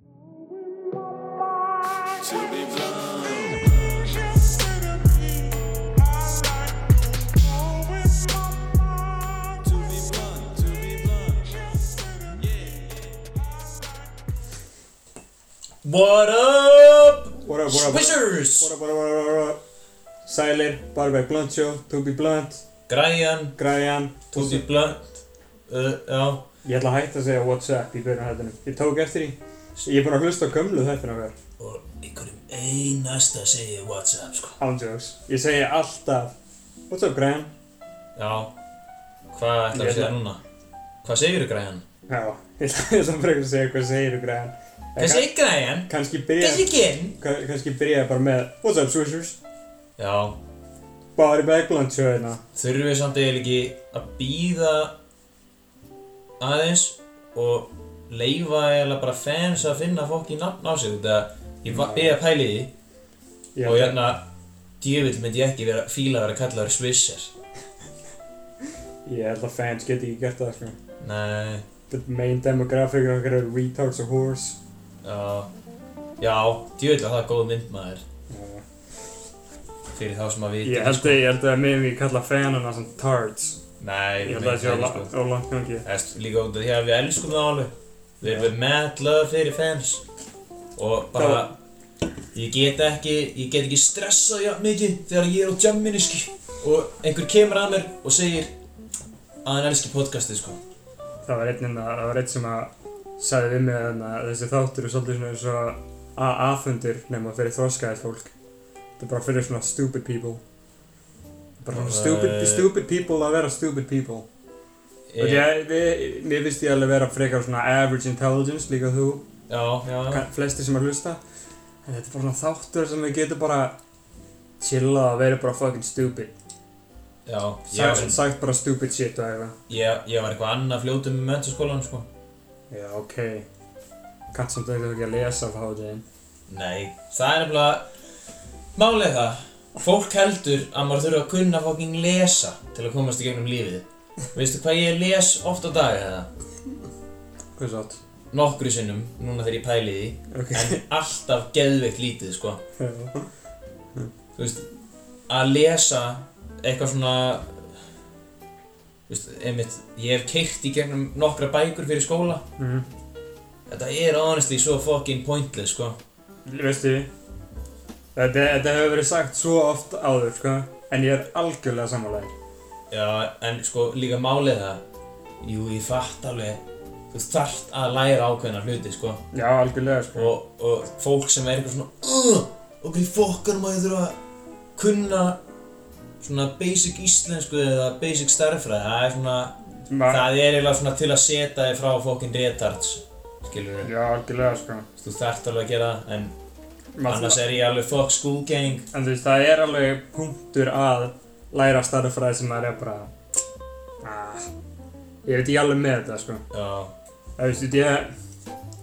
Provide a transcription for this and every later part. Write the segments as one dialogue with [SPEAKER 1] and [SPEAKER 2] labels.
[SPEAKER 1] Uh, What up,
[SPEAKER 2] What up, what up, what up,
[SPEAKER 1] Swishers?
[SPEAKER 2] what up, what up, what up, what up? Sælir, Barber Blunt Show, To Be Blunt,
[SPEAKER 1] Græjan,
[SPEAKER 2] Græjan
[SPEAKER 1] to be blunt uh, Já,
[SPEAKER 2] Ég ætla að hætta að segja what's up í byrjun á hættunum Ég tók eftir því Ég er búinn að hlusta á gömlu þættina okkar
[SPEAKER 1] og einhverjum einasta segi ég what's up, sko
[SPEAKER 2] Ándjóks Ég segi alltaf What's up, Græjan?
[SPEAKER 1] Já, hvað ætlar
[SPEAKER 2] Ég
[SPEAKER 1] að segja
[SPEAKER 2] ætla-
[SPEAKER 1] núna? Hvað segirðu Græjan?
[SPEAKER 2] Já, ég ætla ég ætla að frekar að segja hvað segir Græjan
[SPEAKER 1] Hvað segir Græjan?
[SPEAKER 2] Kanski
[SPEAKER 1] Hvað
[SPEAKER 2] byrja
[SPEAKER 1] segir Ginn?
[SPEAKER 2] ka- Kanski byrja bara með What's up, Swishers?
[SPEAKER 1] Já,
[SPEAKER 2] Barber Blunt Show hérna
[SPEAKER 1] þurfum við samt eiginlega ekki að býða aðeins og leifa eiginlega bara fans að finna fólk í nafn á sig þetta ég var beða pæli í því
[SPEAKER 2] Ég
[SPEAKER 1] og
[SPEAKER 2] ætla-
[SPEAKER 1] hérna djöfull myndi ég ekki vera fíla að vera kallaður svisser
[SPEAKER 2] Ég held að fans geti ekki gert það, sko
[SPEAKER 1] Nei,
[SPEAKER 2] The main demographic okkar er retards og whores
[SPEAKER 1] já Já, djöfull var það góð mynd maður
[SPEAKER 2] Já.
[SPEAKER 1] fyrir þá sem að vita sko.
[SPEAKER 2] Ég held að, ég held að mig við kalla fanana sem tards
[SPEAKER 1] Nei,
[SPEAKER 2] Ég
[SPEAKER 1] við
[SPEAKER 2] held að það sé á
[SPEAKER 1] myndum
[SPEAKER 2] la-
[SPEAKER 1] sko
[SPEAKER 2] á langt gangi
[SPEAKER 1] Æst, Líka út af því að við elskum það alveg Við erum mad love fyrir fans og bara ég get ekki, ég get ekki stressað jafn mikið þegar ég er á jamminu ski og einhver kemur að mér og segir að hann elski podcastið sko
[SPEAKER 2] Það var einn innan, það var einn sem að sagði við mig þarna að þessi þáttur er svolítið svona eins og AA-fundur nema fyrir þroskaðið fólk Það er bara fyrir svona stupid people Bara svona stupid,
[SPEAKER 1] Nei.
[SPEAKER 2] stupid people að vera stupid people
[SPEAKER 1] eh, Ég-
[SPEAKER 2] Og ég, við, mér finnst ég alveg vera frekar svona average intelligence líka þú
[SPEAKER 1] Já, já, já
[SPEAKER 2] ka- Flestir sem að hlusta En þetta er bara svona þáttur sem við getum bara chillað að vera bara fucking stupid
[SPEAKER 1] Já, ég var
[SPEAKER 2] Sagt,
[SPEAKER 1] svona
[SPEAKER 2] sagt bara stupid shit og eitthvað
[SPEAKER 1] Ég, ég var eitthvað annað fljótum með mentaskólanum sko
[SPEAKER 2] Já, ok. Kannt samt eitthvað ekki að lesa á hátíðin.
[SPEAKER 1] Nei, það er nefnilega Málið er það Fólk heldur að maður þurfa að kunna fucking lesa Til að komast í gegnum lífið Veistu hvað ég les oft á dag eða?
[SPEAKER 2] Hvað er sátt?
[SPEAKER 1] Nokkru sinnum, núna þegar ég pæli í því
[SPEAKER 2] Ok.
[SPEAKER 1] En alltaf geðveikt lítið sko
[SPEAKER 2] Já.
[SPEAKER 1] Þú veist Að lesa eitthvað svona Þú veist, einmitt Ég hef keitt í gegnum nokkra bækur fyrir skóla
[SPEAKER 2] Mhm.
[SPEAKER 1] Þetta er honestly svo fucking pointless sko
[SPEAKER 2] Veistu, þetta, þetta hefur verið sagt svo oft áður, sko. En ég er algjörlega samanlegin.
[SPEAKER 1] Já, en sko líka málið það Jú, ég fatt alveg Þú þarft að læra ákveðna hluti, sko
[SPEAKER 2] Já, algjörlega, sko.
[SPEAKER 1] Og, og fólk sem er eitthvað svona "Ugh, Ok, fokkar maður þurfa að kunna Svona basic íslensku eða basic starffræði Það er svona
[SPEAKER 2] Ma
[SPEAKER 1] Það er eiginlega svona til að setja þig frá fokkin retards Skilur við
[SPEAKER 2] Já, algjörlega, sko.
[SPEAKER 1] Þú þarft alveg að gera það En
[SPEAKER 2] Ma
[SPEAKER 1] annars er ég alveg fuck school gang
[SPEAKER 2] En þú veist, það er alveg punktur að læra starffræði sem maður er bara... Ah, ég veit ekki alveg með þetta, sko.
[SPEAKER 1] Já,
[SPEAKER 2] Það veistu, ég,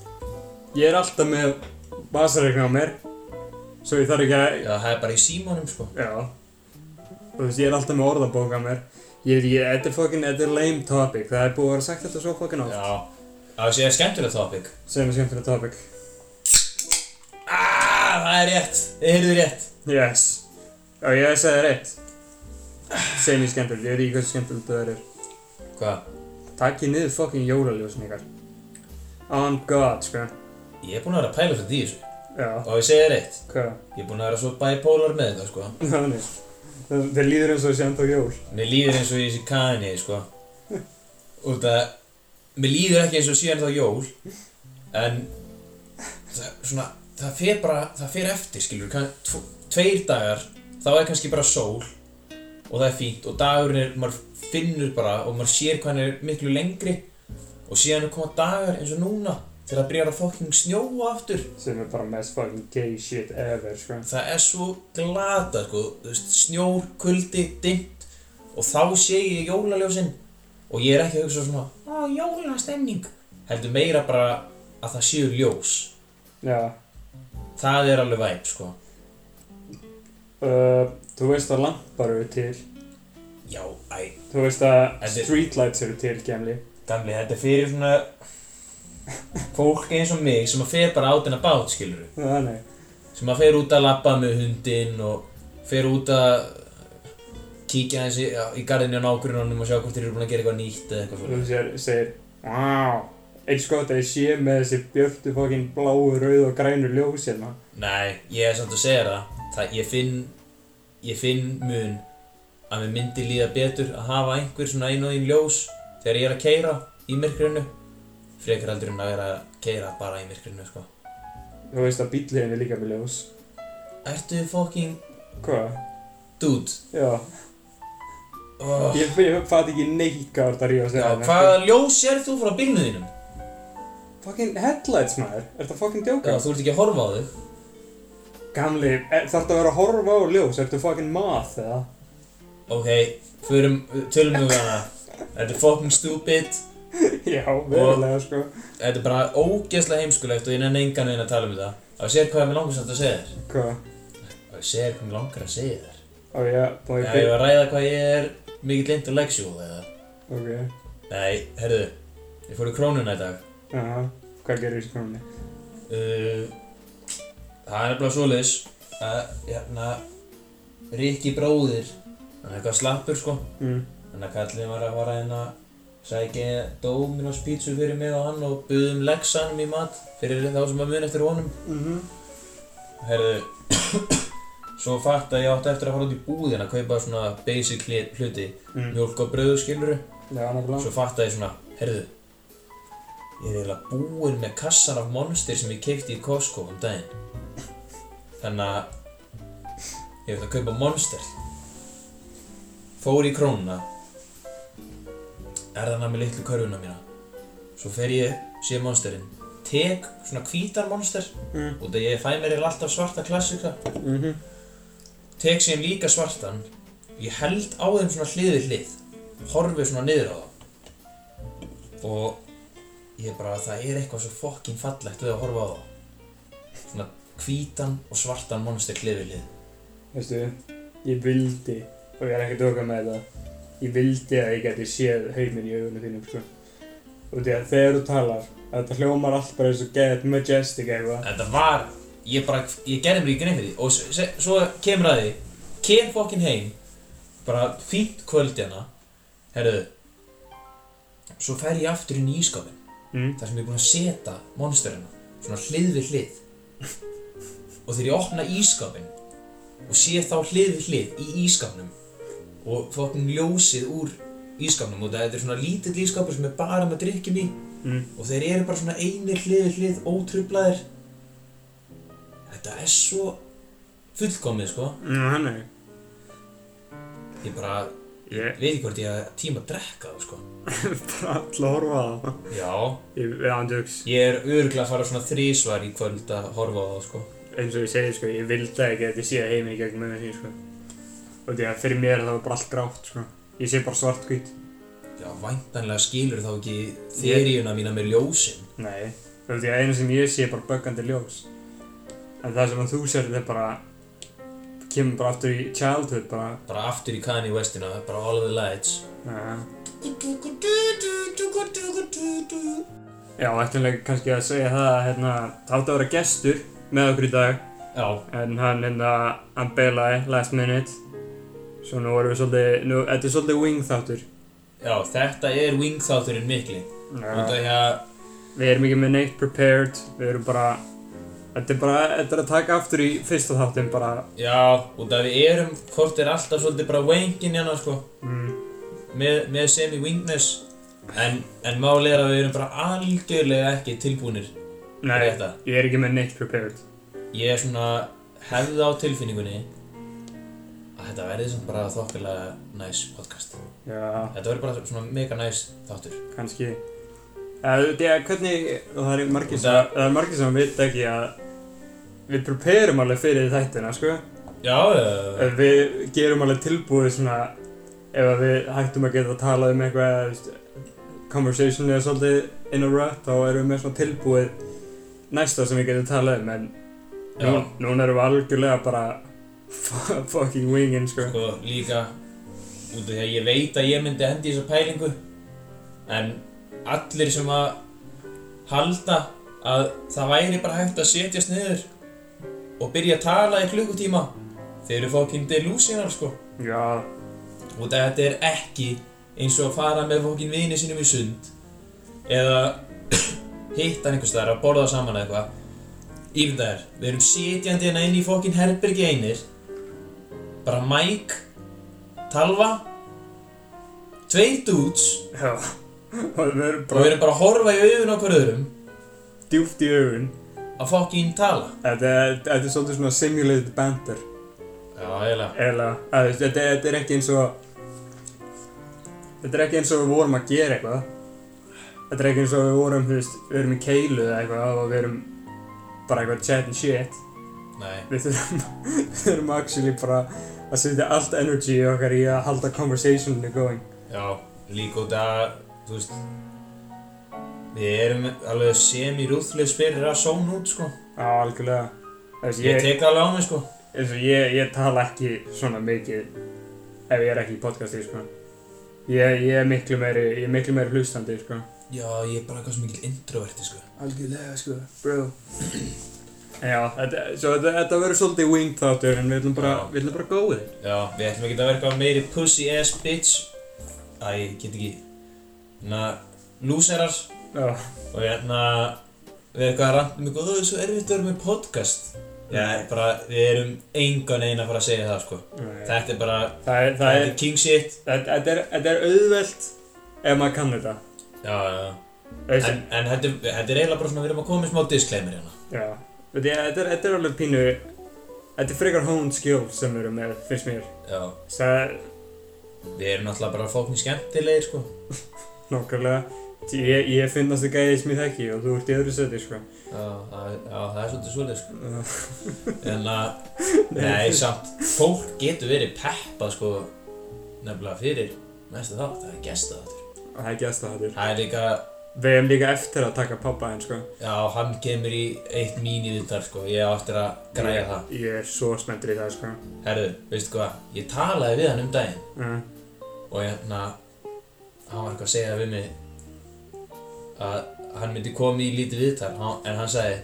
[SPEAKER 2] ég er alltaf með basareikna á mér, svo ég þarf ekki að
[SPEAKER 1] já, það er bara í símanum, sko
[SPEAKER 2] Já Þú veist, ég er alltaf með orðabók að mér Ég veit ekki, þetta er fucking, þetta er lame topic Það er búið að vera sagt þetta svo fucking oft
[SPEAKER 1] Já, það sé skemmtilega topic
[SPEAKER 2] Segðum við skemmtilega topic
[SPEAKER 1] Ah, það er rétt, þið heyrðu rétt
[SPEAKER 2] Yes Já, ég sagði það rétt Segðum við skemmtilega, ég veit ekki hversu skemmtilegt það er
[SPEAKER 1] Hvað?
[SPEAKER 2] Takk ég niður fucking jólaljósin ykkar On God, sko
[SPEAKER 1] Ég er búinn að vera að pæla fyrir því þessu
[SPEAKER 2] Já,
[SPEAKER 1] Og ég segi þér rétt,
[SPEAKER 2] hvað?
[SPEAKER 1] ég er búinn að vera svo bipolar með þetta sko
[SPEAKER 2] Þannig Það þeir líður eins og þessi enda á jól
[SPEAKER 1] Mér líður eins og ég sé Kanye sko Út að Mér líður ekki eins og síðan þá jól En Það, svona, það fer bara, það fer eftir skilur kann, tvo, Tveir dagar Þá er kannski bara sól Og það er fínt og dagurinn er, maður finnur bara Og maður sér hvað hann er miklu lengri Og síðan er koma dagar eins og núna Þegar það byrjar að fokking snjóa aftur
[SPEAKER 2] Sem er bara mest fucking gay shit ever, sko
[SPEAKER 1] það er svo glata sko, þú veist, snjór, kuldi, dimmt og þá sé ég jólaljósin og ég er ekki að hugsa svona á jólastemning heldur meira bara að það séu ljós
[SPEAKER 2] Já
[SPEAKER 1] það er alveg væp sko
[SPEAKER 2] uh, Þú veist að lampar eru til
[SPEAKER 1] já, æ,
[SPEAKER 2] Þú veist að
[SPEAKER 1] Þetta er-
[SPEAKER 2] streetlights eru til, gemli.
[SPEAKER 1] gamli, þetta er fyrir svona fólk eins og mig sem að fer bara át en að bát, skilur
[SPEAKER 2] Þannig.
[SPEAKER 1] sem að fer út að labba með hundinn og fer út að kíkja aðeins í, í garðinu á nágrunanum og sjá hvort þeir eru búin að gera eitthvað nýtt eða eitthvað
[SPEAKER 2] Þú
[SPEAKER 1] svona
[SPEAKER 2] sér, segir, wow, eins gott að ég sé með þessi björtu fokkin bláu, rauð og grænu ljós hérna.
[SPEAKER 1] Nei, ég er samt að segja það, það ég, finn, ég finn mun að mér myndi líða betur að hafa einhver svona einu og einu ljós þegar ég er að keira í myrkrinu frekar aldrei en að vera að keira bara í myrkrinu sko.
[SPEAKER 2] Þú veist að bíllinn er líka með ljós.
[SPEAKER 1] Ertu fucking
[SPEAKER 2] Hvað?
[SPEAKER 1] dude?
[SPEAKER 2] Já.
[SPEAKER 1] Oh.
[SPEAKER 2] Ég, ég fatt ekki neitt hvað þetta ríðast
[SPEAKER 1] Já,
[SPEAKER 2] sko.
[SPEAKER 1] hvaða ljós sér þú frá bílnu þínum?
[SPEAKER 2] Fokkin headlights maður, er þetta fokkin
[SPEAKER 1] Já,
[SPEAKER 2] djóka?
[SPEAKER 1] þú ert ekki að horfa á þig.
[SPEAKER 2] Gamli, er, þarf þetta að vera að horfa á ljós, ertu fokkin math eða?
[SPEAKER 1] Ok, förum, tölum við um hana. Þetta er fucking stupid.
[SPEAKER 2] Já, verulega sko.
[SPEAKER 1] Þetta er bara ógeðslega heimskulegt og ég nenni engan veginn að tala um þetta. Og ég segir hvað ég mér langar samt að segja þér.
[SPEAKER 2] Hvað?
[SPEAKER 1] Og ég segir hvað ég mér langar að segja þér.
[SPEAKER 2] Á ég, má
[SPEAKER 1] Já,
[SPEAKER 2] ég
[SPEAKER 1] ég var að ræða hvað ég er mikill intellectual eða.
[SPEAKER 2] byrja? Ok,
[SPEAKER 1] Nei, herðu, ég fór í krónuna í dag.
[SPEAKER 2] aha, hvað gerir í skrumni?
[SPEAKER 1] Uh, það er nefnilega svoleiðis að, hérna, Rikki bróðir, hann er eitthvað slappur sko.
[SPEAKER 2] Mm.
[SPEAKER 1] Þannig að kallin var að fara inn að sækja Dominos pítsu fyrir mig og hann og buðum Lexanum í mat fyrir þá sem að mun eftir honum.
[SPEAKER 2] Mm -hmm.
[SPEAKER 1] Herðu, svo fatt að ég átti eftir að fara út í búðin að kaupa svona basic hli- hluti,
[SPEAKER 2] Mm.
[SPEAKER 1] mjólk og brauðu skiluru.
[SPEAKER 2] Já, náttúrulega.
[SPEAKER 1] Svo fatt að ég svona, herðu, ég er eiginlega búinn með kassan af monster sem ég keipti í Costco um daginn. Þannig að ég ætla að kaupa monster. Fór í krónuna, er það með litlu körfuna mína. Svo fer ég, sé monsterinn, tek svona hvítar monster,
[SPEAKER 2] Mm.
[SPEAKER 1] út af ég fæ mér eiginlega alltaf svarta klassika.
[SPEAKER 2] Mm -hmm.
[SPEAKER 1] Tek síðan líka svartan, ég held á þeim svona hlið við hlið, horfi svona niður á það. Og ég bara, það er eitthvað svo fokkin fallegt við að horfa á það. Svona hvítan og svartan monster hlið við hlið.
[SPEAKER 2] Veistu, ég vildi, og ég er ekki dökað með þetta, ég vildi að ég geti séð heiminn í augunum þínum, sko. Og því að þegar þú talar, þetta hljómar allt bara eins og get majestic eitthvað.
[SPEAKER 1] Þetta var, ég bara, ég gerði mér ekki grein fyrir því. Og s- s- svo kemur að því, kem fokkin heim, bara fínt kvöld hérna, herruðu. Svo fer ég aftur inn í ískapin.
[SPEAKER 2] Mm.
[SPEAKER 1] þar sem ég er búinn að setja monsterina svona hlið við hlið og þegar ég opna ískapin og sé þá hlið við hlið í ískapnum og fokkin ljósið úr ískapnum og þetta er svona lítill ískapur sem er bara með drikkjum í
[SPEAKER 2] Mm.
[SPEAKER 1] og þeir eru bara svona einir hlið við hlið ótrublaðir þetta er svo fullkomið sko
[SPEAKER 2] Mm, hann er.
[SPEAKER 1] ég bara
[SPEAKER 2] Ég
[SPEAKER 1] veit ekki hvort ég hef tíma að drekka það sko
[SPEAKER 2] er bara alltaf að horfa á það.
[SPEAKER 1] já
[SPEAKER 2] Ég er andjöks.
[SPEAKER 1] ég er örgulega að fara svona þrísvar í kvöld að horfa á það sko
[SPEAKER 2] eins og ég segi sko, ég vildi ekki að ég sé heiminn í gegnum auðvitað sko. Og því að fyrir mér er það var bara allt grátt sko. Ég sé bara svart hvít.
[SPEAKER 1] Já, væntanlega skilur þá ekki þeirriuna mína með ljósin.
[SPEAKER 2] Nei. Og því að einu sem ég sé er bara böggandi ljós. En það sem að þú sér þetta er bara, kemur bara aftur í childhood bara.
[SPEAKER 1] Bara aftur í Kanye Westina, bara all of the lights.
[SPEAKER 2] Uh. Já, ætlulega kannski að segja það að hérna, það átti að vera gestur með okkur í dag.
[SPEAKER 1] Já,
[SPEAKER 2] En hann hérna, hann beilaði last minute. Svo nú vorum við svolítið, nú, þetta er svolítið wing þáttur.
[SPEAKER 1] já, þetta er wingþátturinn mikli. Þú veit að
[SPEAKER 2] Við erum ekki með neitt prepared, við erum bara Þetta er bara, þetta er að taka aftur í fyrsta þáttum bara
[SPEAKER 1] já, út af við erum, hvort er alltaf svolítið bara wangin hérna, sko,
[SPEAKER 2] mm,
[SPEAKER 1] með, með semi-wingness. En, en máli er að við erum bara algjörlega ekki tilbúinir
[SPEAKER 2] Nei,
[SPEAKER 1] fyrir þetta.
[SPEAKER 2] ég er ekki með neitt prepared
[SPEAKER 1] Ég er svona hefð á tilfinningunni að þetta verði samt bara þokkilega næs podcast.
[SPEAKER 2] Já,
[SPEAKER 1] Þetta verður bara svona mega næs þáttur.
[SPEAKER 2] kannski Það er hvernig, og það er margir sem,
[SPEAKER 1] Þetta-
[SPEAKER 2] það er margir sem veit ekki að Við preparum alveg fyrir þættina, sko
[SPEAKER 1] Já, já, já.
[SPEAKER 2] Við gerum alveg tilbúið svona Ef að við hættum að geta að tala um eitthvað eða, veist, Conversation eða svolítið in a rut Þá erum við með svona tilbúið Næsta sem við getum talað um, en
[SPEAKER 1] já.
[SPEAKER 2] Nú, núna erum við algjörlega bara fu- fucking wingin, sko.
[SPEAKER 1] Sko, líka út af því að ég veit að ég myndi hendi þessa pælingu en allir sem að halda að það væri bara hægt að setjast niður og byrja að tala í klukkutíma þeir eru fókinn delusionar sko
[SPEAKER 2] Já,
[SPEAKER 1] út af því að þetta er ekki eins og að fara með fókinn vini sínum í sund eða hitt hann einhvers staðar að borða saman eða eitthvað Ímynda þér, við erum sitjandi hérna inn í fokkin herbergi einir Bara Mike, Talva, tveir dudes
[SPEAKER 2] Já. Og við erum
[SPEAKER 1] Og við
[SPEAKER 2] bara
[SPEAKER 1] erum bara að horfa í augun okkur öðrum
[SPEAKER 2] djúpt í augun.
[SPEAKER 1] að fokkin tala
[SPEAKER 2] Þetta er- þetta er svolítið svona simulated banter.
[SPEAKER 1] Já, eiginlega
[SPEAKER 2] Eða, að þú veist, þetta, þetta er ekki eins og Þetta er ekki eins og við vorum að gera eitthvað Þetta er ekki eins og við vorum, þú veist, við erum í keilu eða eitthvað og við erum bara eitthvað chat and shit
[SPEAKER 1] Nei,
[SPEAKER 2] Við þurfum, við þurfum actually bara að setja allt energy okkar í að halda conversationinu going
[SPEAKER 1] já, líka út að, þú veist Við erum alveg semi-rúðlis fyrir að sóna út, sko
[SPEAKER 2] Já, algjörlega Þú veist,
[SPEAKER 1] Ég
[SPEAKER 2] ég,
[SPEAKER 1] tek það alveg á mig, sko
[SPEAKER 2] eins og ég, ég tala ekki svona mikið ef ég er ekki í podcasti, sko Ég, ég er miklu meiri, ég er miklu meiri hlustandi, sko
[SPEAKER 1] Já, ég er bara eitthvað sem mikill introverti, sko
[SPEAKER 2] Algjörlega sko, bro Já, þetta, svo þetta, þetta verður svolítið winged þáttur en við ætlum bara,
[SPEAKER 1] Já.
[SPEAKER 2] við ætlum bara að góða þig
[SPEAKER 1] Já, við ætlum ekki að verka meiri pussy ass bitch Æ, ég get ekki Þannig að lúserar
[SPEAKER 2] Já,
[SPEAKER 1] Og hérna Við erum eitthvað að ranta um eitthvað Það er svo erfitt að vera með podcast Já, bara, við erum engan einn að fara að segja það, sko
[SPEAKER 2] það,
[SPEAKER 1] Þetta er bara,
[SPEAKER 2] það er,
[SPEAKER 1] þetta
[SPEAKER 2] það er,
[SPEAKER 1] er king shit
[SPEAKER 2] það, þetta er, þetta er auðvelt ef maður kann þetta
[SPEAKER 1] Já, já, já
[SPEAKER 2] Þessi,
[SPEAKER 1] En, en þetta, er- þetta er eiginlega bara svona, við erum að koma með smá disclaimer hérna
[SPEAKER 2] já, þetta er, þetta er, þetta er alveg pínu, þetta er frekar honed skill sem við erum með, finnst mér
[SPEAKER 1] Já,
[SPEAKER 2] Það,
[SPEAKER 1] við erum náttúrulega bara fólkni skemmtilegir sko
[SPEAKER 2] nokkarlega, ég, ég finnast þið gæðið sem ég þekki og þú ert í öðru seti sko
[SPEAKER 1] Já, það, já, það er svolítið svolítið sko
[SPEAKER 2] Já.
[SPEAKER 1] En að, nei, samt, fólk getur verið peppað sko Nefnilega fyrir næsta þátt, það er gesta þáttur
[SPEAKER 2] og það er gæsta þáttur
[SPEAKER 1] Það er líka,
[SPEAKER 2] Við erum líka eftir að taka pappa henn sko
[SPEAKER 1] já, hann kemur í eitt mín í þetta sko Ég á eftir að græja það
[SPEAKER 2] Ég er svo spenntur í það sko
[SPEAKER 1] Herðu, veistu hvað, ég talaði við hann um daginn
[SPEAKER 2] Já,
[SPEAKER 1] og hérna hann var eitthvað að segja við mig að hann myndi koma í lítið viðtal hann- en hann sagði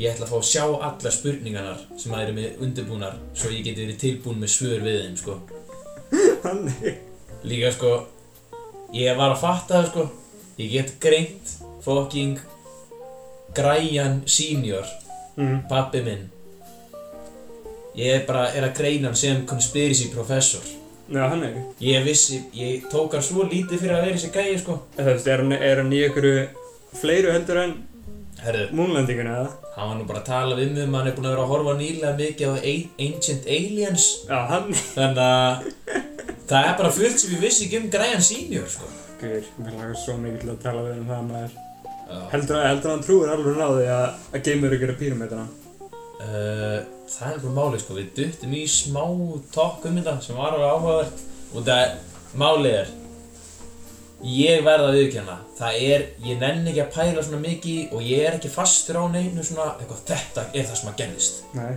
[SPEAKER 1] ég ætla að fá að sjá allar spurningarnar sem að eru með undirbúnar svo ég geti verið tilbúin með svör við þeim sko.
[SPEAKER 2] Eh, Þannig
[SPEAKER 1] líka sko ég var að fatta það sko ég get greint fucking græjan senior
[SPEAKER 2] mm.
[SPEAKER 1] pappi minn ég er bara er að greina hann sem conspiracy professor
[SPEAKER 2] Já, hann er
[SPEAKER 1] ég vissi, ég tók hann svo lítið fyrir að vera þessi gæi sko
[SPEAKER 2] Það Eh, veist, er hann, er hann í einhverju fleiru heldur en
[SPEAKER 1] Herðu,
[SPEAKER 2] múnlandinguna eða?
[SPEAKER 1] hann var nú bara að tala við mig um að hann er búinn að vera að horfa nýlega mikið á A- Ancient Aliens
[SPEAKER 2] Já, hann
[SPEAKER 1] Þannig að það er bara fullt sem ég vissi ekki um græjan senior sko
[SPEAKER 2] Guður, mér lakar svo mikið til að tala við um það maður
[SPEAKER 1] uh,
[SPEAKER 2] Heldur að, heldur að hann trúir alveg náði að, að geymur ykkur að píramítana
[SPEAKER 1] Eh, Það er bara málið sko, við duttum í smá tokk um þetta sem var alveg áhugavert Og það, málið er Ég verð að viðkjanna, það er, ég nenni ekki að pæla svona mikið í og ég er ekki fastur á neinu svona, eitthvað, þetta er það sem að gerðist
[SPEAKER 2] Nei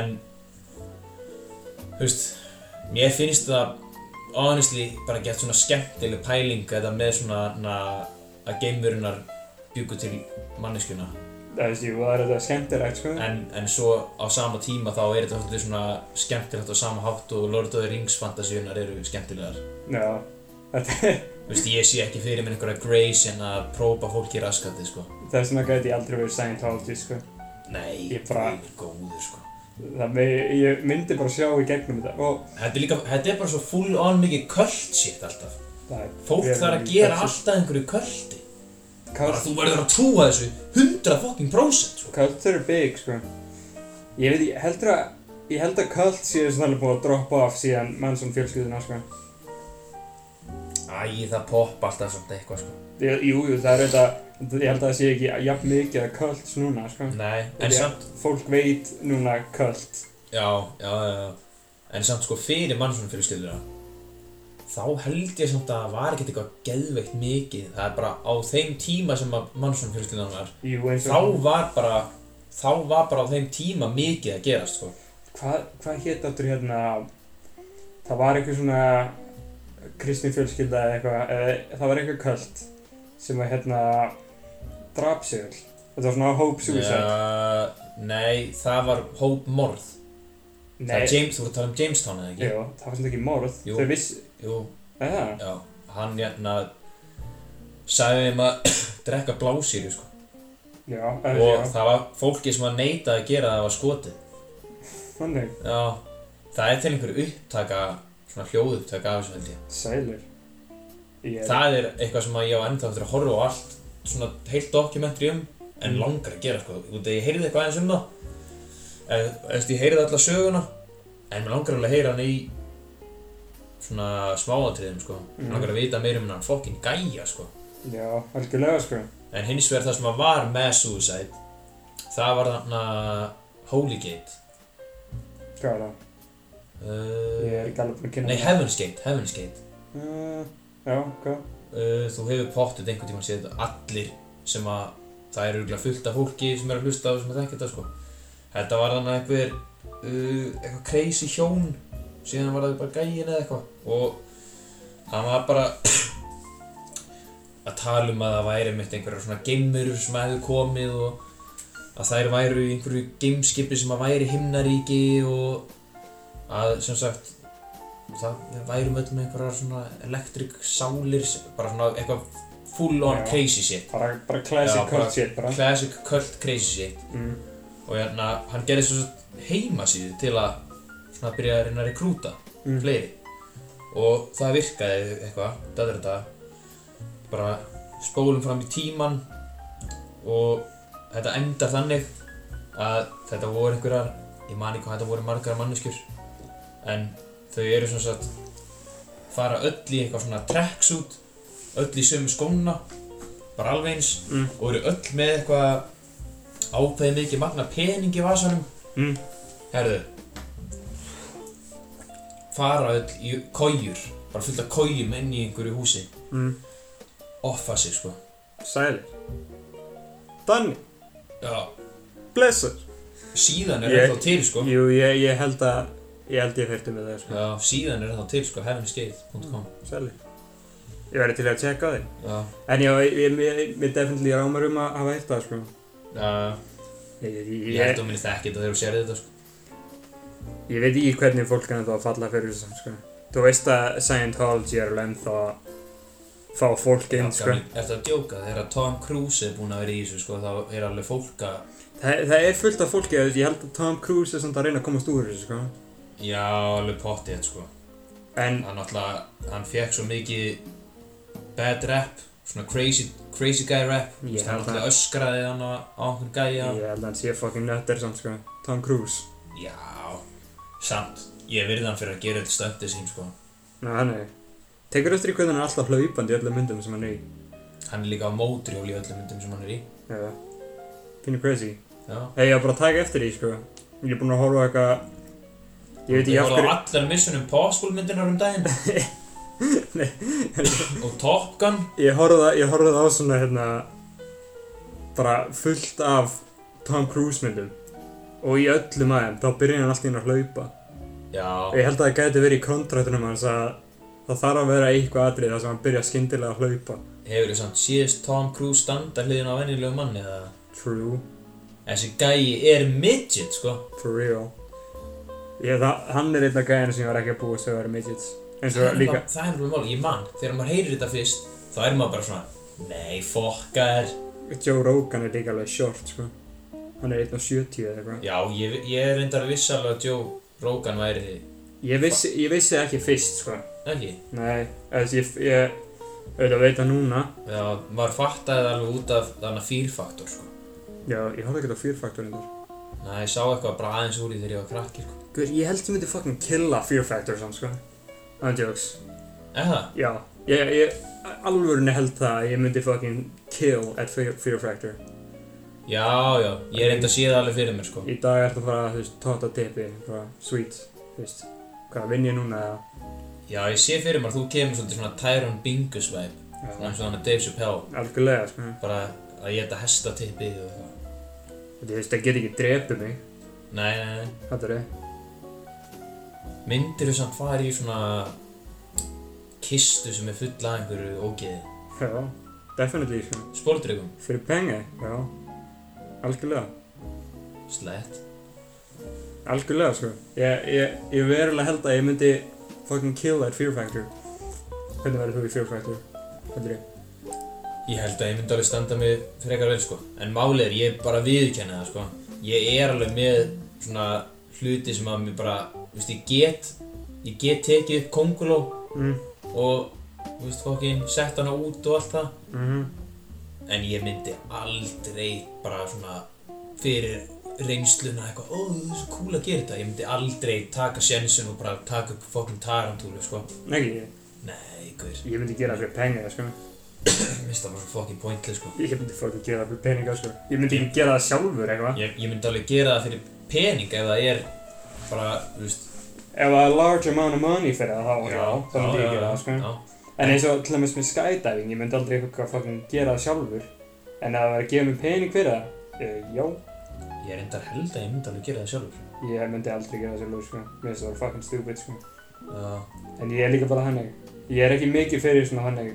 [SPEAKER 1] en þú veist, mér finnst það honestly bara gett svona skemmtileg pæling þetta með svona na, að geimverunar bjúku til manneskjuna
[SPEAKER 2] Það Eh, veist, jú, það er þetta skemmtilegt, sko
[SPEAKER 1] en, en svo á sama tíma þá er þetta svolítið svona skemmtilegt á sama hátt og Lord of the Rings fantasíunar eru skemmtilegar
[SPEAKER 2] Já Þetta er
[SPEAKER 1] Þú veist, ég sé ekki fyrir mér einhverja Grace en að prófa fólk í raskatið sko
[SPEAKER 2] Þess vegna gæti ég aldrei verið Scientology, sko
[SPEAKER 1] Nei,
[SPEAKER 2] Ég bara-
[SPEAKER 1] guð er góður sko
[SPEAKER 2] Það með, ég myndi bara sjá í gegnum þetta Og
[SPEAKER 1] Þetta er líka, þetta er bara svo full on mikið cult shit alltaf
[SPEAKER 2] það er
[SPEAKER 1] Fólk
[SPEAKER 2] Ég-
[SPEAKER 1] þarf að gera
[SPEAKER 2] þessi-
[SPEAKER 1] alltaf einhverju kulti bara
[SPEAKER 2] Kalt,
[SPEAKER 1] þú verður að trúa þessu 100 fucking prósent sko.
[SPEAKER 2] kalt eru big, sko Ég veit, ég heldur að, ég held að kalt séu svona alveg búið að droppa af síðan Manson fjölskylduna, sko
[SPEAKER 1] Æ, það poppa alltaf samt eitthvað sko.
[SPEAKER 2] Ég- Jú, jú, það er auðvitað, ég held að það sé ekki jafn mikið að kvöld núna, sko.
[SPEAKER 1] Nei, en
[SPEAKER 2] Ok.
[SPEAKER 1] samt
[SPEAKER 2] Fólk veit núna kvöld.
[SPEAKER 1] Já, já, já, já En samt sko fyrir mannsson fyrir skilur Þá held ég samt að það var ekkert eitthvað geðveikt mikið Það er bara á þeim tíma sem að mannsson fyrir skilur var
[SPEAKER 2] Jú, eins og...
[SPEAKER 1] Þá var bara Þá var bara á þeim tíma mikið að gerast sko.
[SPEAKER 2] Hvað hva hétt áttur hérna, það var einhver svona kristin fjölskylda eða eitthvað, eða það var einhver kvöld sem var hérna drap sig öll. Þetta var svona hope suicide.
[SPEAKER 1] Já, Nei, það var hóp morð Það er James, þú voru að tala um Jamestown eða ekki?
[SPEAKER 2] jú, það var svona ekki morð.
[SPEAKER 1] Jú.
[SPEAKER 2] Þau viss,
[SPEAKER 1] Jú,
[SPEAKER 2] eða,
[SPEAKER 1] Já, hann hérna sagði þeim að drekka blásýru sko
[SPEAKER 2] Já, eða
[SPEAKER 1] og
[SPEAKER 2] já,
[SPEAKER 1] það var fólki sem var neitað að gera það var skotið
[SPEAKER 2] þannig,
[SPEAKER 1] já, það er til einhver upptaka svona hljóðupptaka af þessu held ég
[SPEAKER 2] sælir. Ég,
[SPEAKER 1] það er eitthvað sem að ég á ennþá eftir að horfa á allt svona heilt dokumentri um en
[SPEAKER 2] Mm.
[SPEAKER 1] langar að gera sko út að ég heyrði eitthvað eins um það eða þú veist, ég heyrði alla söguna en mér langar alveg að heyra hann í svona smáatriðum sko mm.
[SPEAKER 2] Mm.
[SPEAKER 1] langar að vita meira um hann fokkin gæja sko
[SPEAKER 2] já, algjörlega sko.
[SPEAKER 1] En hins vegar það sem að var með Suicide Það var þarna Holy Gate
[SPEAKER 2] Hvað er það? Ég er
[SPEAKER 1] uh,
[SPEAKER 2] ekki alveg búinn að kynna
[SPEAKER 1] Nei, Heaven's Gate, Heaven's Gate
[SPEAKER 2] Uh, já, hvað?
[SPEAKER 1] uh, Þú hefur pottið einhvern tímann séð þetta Allir sem að Það er örgulega fullt af fólki sem er að hlusta á sem að þekkja þetta sko Þetta var þarna einhver uh, Eitthvað crazy hjón Síðan var það bara gæin eða eitthvað Og hann var bara Að tala um að það væri mitt einhverjar svona geimur sem hefðu komið og að þær væru í einhverju gameskipi sem að væri himnaríki og að sem sagt það við værum öll með einhverjar svona electric sálir sem- bara svona eitthvað full on
[SPEAKER 2] Já.
[SPEAKER 1] crazy shit
[SPEAKER 2] Bara, bara classic
[SPEAKER 1] Já, bara-
[SPEAKER 2] cult shit, bara.
[SPEAKER 1] classic cult crazy shit
[SPEAKER 2] Mm.
[SPEAKER 1] og hérna hann gerði svo sagt heimasíðu til að svona byrja að reyna að rekrúta
[SPEAKER 2] Mm.
[SPEAKER 1] fleiri og það virkaði eitthvað, þetta er þetta bara spólum fram í tíman og þetta endar þannig að þetta voru einhverjar ég man ekki hvað þetta voru margar manneskjur en þau eru svona sagt fara öll í eitthvað svona tracksuit öll í sömu skóna bara alveg eins
[SPEAKER 2] Mm.
[SPEAKER 1] og eru öll með eitthvað ákveðið mikið magna pening í vasanum
[SPEAKER 2] Mm.
[SPEAKER 1] Herðu Fara öll í kójur Bara fullt af kójum inn í einhverju húsi
[SPEAKER 2] Mm.
[SPEAKER 1] Offa sig sko
[SPEAKER 2] Sælir. Danni,
[SPEAKER 1] Já
[SPEAKER 2] blessar.
[SPEAKER 1] Síðan er
[SPEAKER 2] Ég-
[SPEAKER 1] það þá til sko
[SPEAKER 2] Jú, ég, ég held að, ég held ég fyrti með það sko.
[SPEAKER 1] Já, síðan er það þá til sko Heavensgate.com
[SPEAKER 2] Sælir. Ég væri til að tjekka á því.
[SPEAKER 1] Já
[SPEAKER 2] En já, ég, ég, ég, ég definitely rámar um að hafa eitt það, sko.
[SPEAKER 1] Já,
[SPEAKER 2] Ég, ég,
[SPEAKER 1] ég held að minni þekki þetta þegar þú sér þetta sko
[SPEAKER 2] Ég veit ekki hvernig fólk er ennþá að falla fyrir þessu, sko. Þú veist að Scientology er alveg ennþá að fá fólk inn,
[SPEAKER 1] Já,
[SPEAKER 2] sko.
[SPEAKER 1] gamli, Ertu að djóka þegar að Tom Cruise er búinn að vera í þessu sko Þá er alveg fólk að
[SPEAKER 2] Það, það er fullt af fólki, ég held að Tom Cruise er samt að reyna að komast úr þessu, sko.
[SPEAKER 1] Já, alveg pottið sko
[SPEAKER 2] En,
[SPEAKER 1] Hann náttúrulega, hann fekk svo mikið Bad rap Svona crazy, crazy guy rap Þú
[SPEAKER 2] Ég
[SPEAKER 1] veist, Hann
[SPEAKER 2] held að-
[SPEAKER 1] náttúrulega öskraði hann á, á einhvern gæja
[SPEAKER 2] ég held að hann sé fucking nötter samt, sko. Tom Cruise.
[SPEAKER 1] Já, samt. Ég virði hann fyrir að gera þetta stöndið sín, sko.
[SPEAKER 2] Ná, hann er... Tekur eftir í hvernig hann er alltaf hlaupandi í öllum myndum sem hann er í.
[SPEAKER 1] Hann er líka á mótrjól í öllum myndum sem hann er í.
[SPEAKER 2] Já. Pínu crazy.
[SPEAKER 1] Já.
[SPEAKER 2] Hei, ég var bara að taka eftir því, sko. Ég er búinn að horfa á eitthvað... Ég veit ekki af
[SPEAKER 1] Ég voru á allar Mission Impossible myndirnar um daginn.
[SPEAKER 2] hverju...
[SPEAKER 1] og Top Gun.
[SPEAKER 2] Ég horfði, ég horfði á svona hérna bara fullt af Tom Cruise myndum og í öllum aðeim þá byrjar hann alltaf inn að hlaupa
[SPEAKER 1] Já.
[SPEAKER 2] og ég held að það gæti verið í kontraktunum hans að það þarf að vera eitthvað atrið þar sem hann byrjar skyndilega að hlaupa
[SPEAKER 1] Hefur þið samt síðast Tom Cruise standa hliðin á venjulegu manni eða?
[SPEAKER 2] True,
[SPEAKER 1] Þessi gæi er midget, sko.
[SPEAKER 2] for real ég, það, Hann er einn af gæðinu sem ég var ekki að búast að vera midgets eins og líka
[SPEAKER 1] Það, það er alveg mál. Ég man, þegar maður heyrir þetta fyrst, þá er maður bara svona, nei, fokkar.
[SPEAKER 2] Joe Rogan er líka alveg short sko hann er einn af 70 eða eitthvað
[SPEAKER 1] Já, ég, ég er reyndar að vissa alveg að Joe Rogan væri þið.
[SPEAKER 2] ég vissi, ég vissi ekki fyrst sko
[SPEAKER 1] Ekki?
[SPEAKER 2] Nei, þessi ég, ég auðvitað veit það núna
[SPEAKER 1] Já, maður fattaði það alveg út af þarna fýrfaktor, sko.
[SPEAKER 2] Já, ég horfði ekkert á Fear Factor endur
[SPEAKER 1] Nei, ég sá eitthvað bara aðeins úr í þegar ég var krakki, sko.
[SPEAKER 2] Guður, ég held ég myndi fucking killa Fear Factor samt, sko I'm jokes
[SPEAKER 1] Er það?
[SPEAKER 2] Já, ég, ég alvörunni held það að ég myndi fucking kill at Fear, fear Factor
[SPEAKER 1] Já, já, ég reyndi að sé það alveg fyrir mér, sko.
[SPEAKER 2] Í dag ertu að fara, þú veist, tóta tipi, bara sweet, þú veist Hvað, vinn ég núna eða?
[SPEAKER 1] Já, ég sé fyrir mér að þú kemur svolítið svona Tyrone Bingus vibe, svona eins og þannig Dave Chappelle,
[SPEAKER 2] Algjörlega, sko
[SPEAKER 1] bara að geta hestatippið og eitthvað.
[SPEAKER 2] Þú veist, það get ekki drepið mig,
[SPEAKER 1] Nei, nei, nei.
[SPEAKER 2] þetta er þið
[SPEAKER 1] Myndir þú samt fara í svona kistu sem er full af einhverju ógeði?
[SPEAKER 2] Já, definitely, sko
[SPEAKER 1] Spordryggum?
[SPEAKER 2] Fyrir pengi, já Algjörlega
[SPEAKER 1] Slett.
[SPEAKER 2] Algjörlega sko Ég, ég, ég verulega held að ég myndi fucking kill that fear factor Hvernig verður þú í fear factor? Heldur ég
[SPEAKER 1] Ég held að ég myndi alveg standa mig frekar vel sko En málið er, ég bara viðurkenna það sko Ég er alveg með svona hluti sem að mér bara Þú veist, ég get Ég get tekið upp konguló
[SPEAKER 2] Mm.
[SPEAKER 1] Og, þú veist, fokkin, sett hana út og allt það
[SPEAKER 2] Mhm.
[SPEAKER 1] En ég myndi aldrei bara svona fyrir reynsluna eitthvað, ó, það er svo cool að gera þetta. Ég myndi aldrei taka sjensin og bara taka upp fokkin tarantúlu, sko.
[SPEAKER 2] Nei, ekki, ég-
[SPEAKER 1] Nei, guður,
[SPEAKER 2] ég myndi gera það fyrir penga, sko.
[SPEAKER 1] ég misti það bara fokkin pointless, sko.
[SPEAKER 2] Ég myndi fólk gera það fyrir peninga, sko. Ég myndi ekki gera það sjálfur, eitthvað.
[SPEAKER 1] Ég, ég myndi alveg gera það fyrir pening ef það er bara, þú veist,
[SPEAKER 2] Ef það er large amount of money fyrir það, þá, já, þá myndi ég gera það, sko.
[SPEAKER 1] Já,
[SPEAKER 2] En eins og til dæmis með skydiving, ég myndi aldrei eitthvað fucking gera það sjálfur. En að það væri að gefa mér pening fyrir það, uh, já,
[SPEAKER 1] ég reyndar held að ég myndi alveg gera það sjálfur.
[SPEAKER 2] ég myndi aldrei gera það sjálfur, sko. Mér finnst það var fucking stupid, sko.
[SPEAKER 1] Já,
[SPEAKER 2] En ég er líka bara hannig. Ég er ekki mikið fyrir svona hannig.